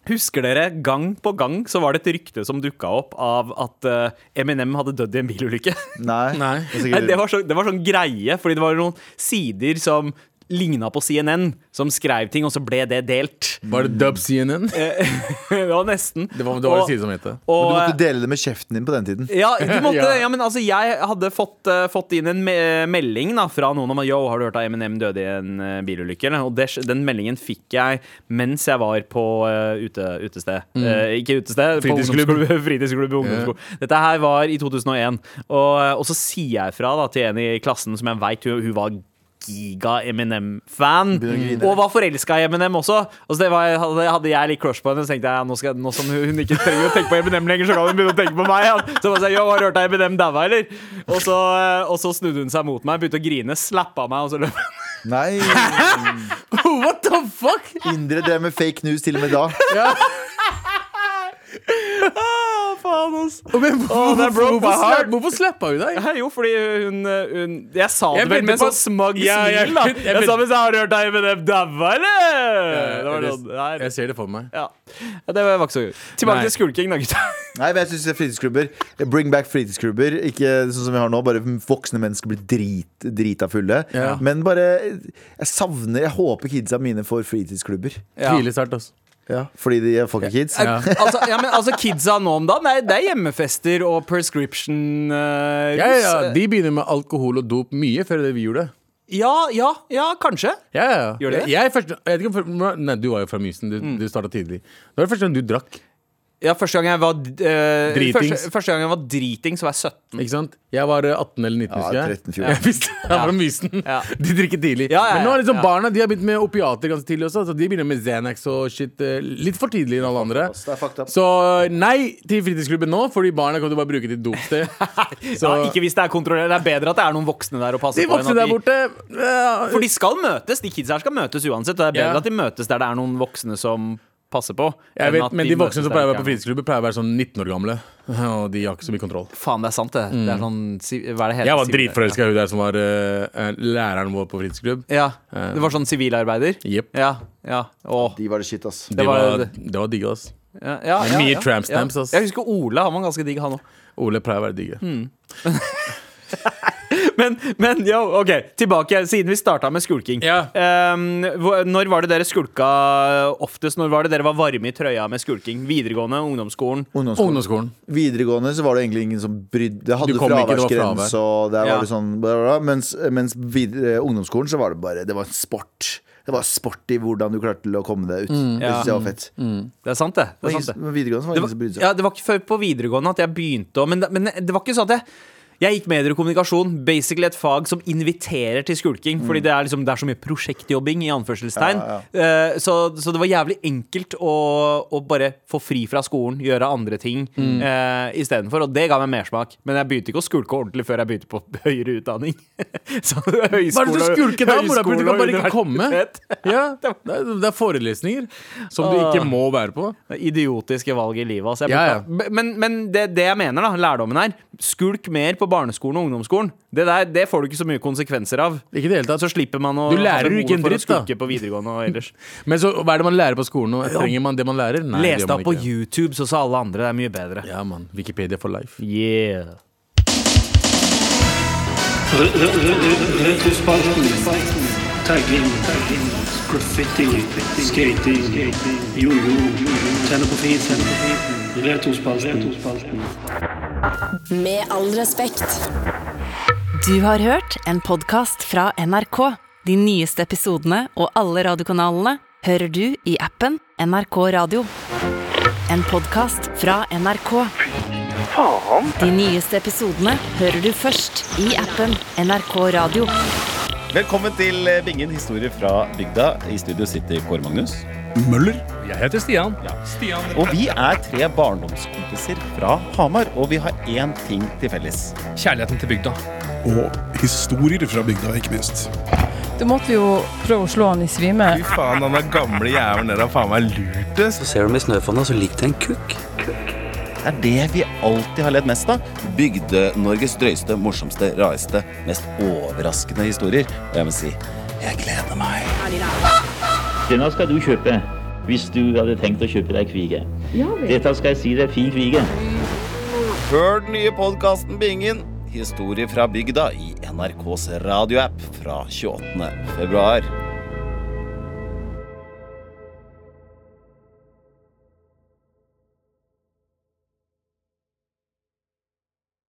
Husker dere gang på gang så var det et rykte som dukka opp av at eh, Eminem hadde dødd i en bilulykke? Nei. Nei. Det er sikkert- Nei, det, var så, det var sånn greie, fordi det var noen sider som ligna på CNN, som skrev ting, og så ble det delt. Var det Dub CNN? Det det var nesten. var, det Eh, var Og- det side som het det. og, eh, Men du måtte dele det med kjeften din på den tiden. ja, du måtte, Ja. ja, men altså Jeg hadde fått, eh, fått inn en me melding da, fra noen om at Yo, har du hørt at Eminem døde i en eh, bilulykke? eller?» Og det, den meldingen fikk jeg mens jeg var på eh, ute, utested. Eh, ikke utested, Mm. Fritidsklubb. på ungdomsklubb. fritidsklubb og ungdomsskole. Dette her var i 2001. Og, eh, og så sier jeg fra da, til en i klassen som jeg veit hun, hun var giga Eminem-fan. Begynner å grine. Og var forelska i Eminem også. Altså det var, hadde, hadde jeg litt crush på henne, så tenkte jeg nå, skal, nå som hun ikke trenger å tenke på Eminem lenger, så kan hun begynne å tenke på meg. ja. Så bare sa jeg, «Yo, har du hørt deg Eminem daua, eller? Og så, eh, og så snudde hun seg mot meg, begynte å grine, slappa meg, og så løp hun. Nei, What the fuck? Indre drev med fake news til og med da. Ah, faen, ass. Å, det Men er hvorfor, broke my hvorfor, heart. slapp, hvorfor slappa hun deg? Nei, Jo, fordi hun, hun Jeg sa det Jeg vel med venter en på- sånn smug Ja, jeg- smil, da. jeg Jeg, vent- sa mens jeg har du hørt deg Eminem daua, eller? Det var sånn, Eh, Jeg- nei. Jeg ser det for meg. Ja. Det var ikke så gøy. Tilbake Nei. til Skulking, da, gutta. Nei, men jeg synes fritidsklubber Bring back fritidsklubber. Ikke sånn som vi har nå, bare voksne mennesker blir drit, drita fulle. Ja. Men bare Jeg savner Jeg håper kidsa mine får fritidsklubber. Tidlig start, altså. Fordi de er fucking kids. Ja. altså, ja, men, altså kidsa nå om dagen, det er, det er hjemmefester og prescription eh, Ja, rus. ja, ja. De begynner med alkohol og dop mye før det vi gjorde. ja, ja, ja, kanskje. Ja, ja, ja. Gjør de det? Mm. Jeg, jeg, først, jeg vet ikke, om- nei, du var jo fra Mysen. Du, du starta tidlig. Det var det første gang du drakk. Ja, første gang jeg var eh, Dritings. Første, første gang jeg var driting, så var jeg 17. Ikke sant? Jeg var eh, 18 eller 19, Ja, husker jeg. 13-14. Jeg visste jeg var fra Mysen. Ja. De drikker tidlig. Ja, ja, Men nå er liksom ja. barna de har begynt med opiater ganske tidlig også. Så de begynner med Xanax og shit eh, litt for tidlig enn alle andre. Det er fucked up. Så eh, nei til fritidsklubben nå, fordi barna kan du bare bruke til dopsted. Ja, ikke hvis det er kontrollert. Det er bedre at det er noen voksne der og passer De på. enn at voksne der de- borte eh, For de skal møtes. De kidsa her skal møtes uansett. Og det er bedre Ja. at de møtes der det er noen voksne som passer på. enn jeg at vet, Men de møtes voksne som der pleier å det være ikke er på noen. fritidsklubber, pleier å være sånn 19 år gamle. Og de har ikke så mye kontroll. Faen, det er sant, det. det er sånn, si- hva er det heter? Mm. Jeg var Sivil- dritforelska i hun der som var eh, eh, læreren vår på fritidsklubb. Eh, Ja. Det var sånn sivilarbeider? Jepp. Ja. ja. Åh. De var det shit, ass. Det var- var, det var digg, ass. Ja, ja, ja, Mye ja, tramp stamps, ja. ass. Jeg husker Ole, han var ganske digg, han òg. Ole pleier å være digg. Mm. Men, men yo, ok, tilbake siden vi starta med skulking. Ja. Ehm, hvor- når var det dere skulka oftest? Når var det dere var varme i trøya med skulking? Videregående, ungdomsskolen? Ungdomsskolen. Ungdomsskolen. Videregående så var det egentlig ingen som brydde Det hadde Du kom ikke, det var fraværsgrense, og der Ja. var det sånn bla, bla, bla. Mens, mens vid, eh, ungdomsskolen så var det bare Det var en sport. Det var sport i hvordan du klarte til å komme deg ut. Det synes jeg var fett. Det er sant, det. det, er sant, det. Men videregående så var det ingen som brydde seg. ja, det var ikke før på videregående at jeg begynte å men, det- men det var ikke sånn at jeg jeg gikk medier og kommunikasjon, basically et fag som inviterer til Mm. skulking. Fordi det er, liksom, det er så mye prosjektjobbing, i anførselstegn. Eh, så, så det var jævlig enkelt å, å bare få fri fra skolen, gjøre andre ting Mm. eh, istedenfor. Og det ga meg mersmak. Men jeg begynte ikke å skulke ordentlig før jeg begynte på høyere utdanning. så høyskole, Hva er det du skulker da, morapul? Du høyskole kan og bare ikke universitet. komme. Ja, det, er, det er forelesninger som du ikke må være på. Idiotiske valg i livet. Altså. Jeg Ja, ja. burde- Men, men det, det jeg mener, da, lærdommen her Skulk mer på barneskolen og ungdomsskolen. Det der det får du ikke så mye konsekvenser av. Ikke i det hele tatt. Så slipper man å Du lærer ha jo ikke behovet en for å dritt, da. skulke på videregående og ellers. Men så, hva er det man lærer på skolen? nå? Trenger man det man lærer? Nei, Les deg det gjør opp man på ikke. YouTube, så sa alle andre det er mye bedre. Ja, man. Wikipedia for life. Yeah. Re- re- re- Retrospalten. Tagging. Graffiti. Skating. Jojo. Tenne på fint. Retrospalten. Med all respekt. Du har hørt en podkast fra NRK. De nyeste episodene og alle radiokanalene hører du i appen NRK Radio. En podkast fra NRK. De nyeste episodene hører du først i appen NRK Radio. Velkommen til eh, Bingen historie fra bygda. I studio sitter Kåre Magnus. Jeg heter Stian. Stian. Og vi er tre barndomskompiser fra Hamar, og vi har én ting til felles. Kjærligheten til bygda. og historier fra bygda, ikke minst. Du måtte jo prøve å slå han i svime. Faen, han er gamle jævelen der har faen meg lurt oss. Ser du med snøfonna, så ligger det en kukk. Det er det vi alltid har ledd mest av. Bygde-Norges drøyeste, morsomste, rareste, mest overraskende historier. Og jeg må si jeg gleder meg. Denne skal du kjøpe. hvis du hadde tenkt å kjøpe deg kvige. Dette skal jeg si deg fin kvige. Hør den nye podkasten Bingen. Historie fra bygda i NRKs radioapp fra 28. februar.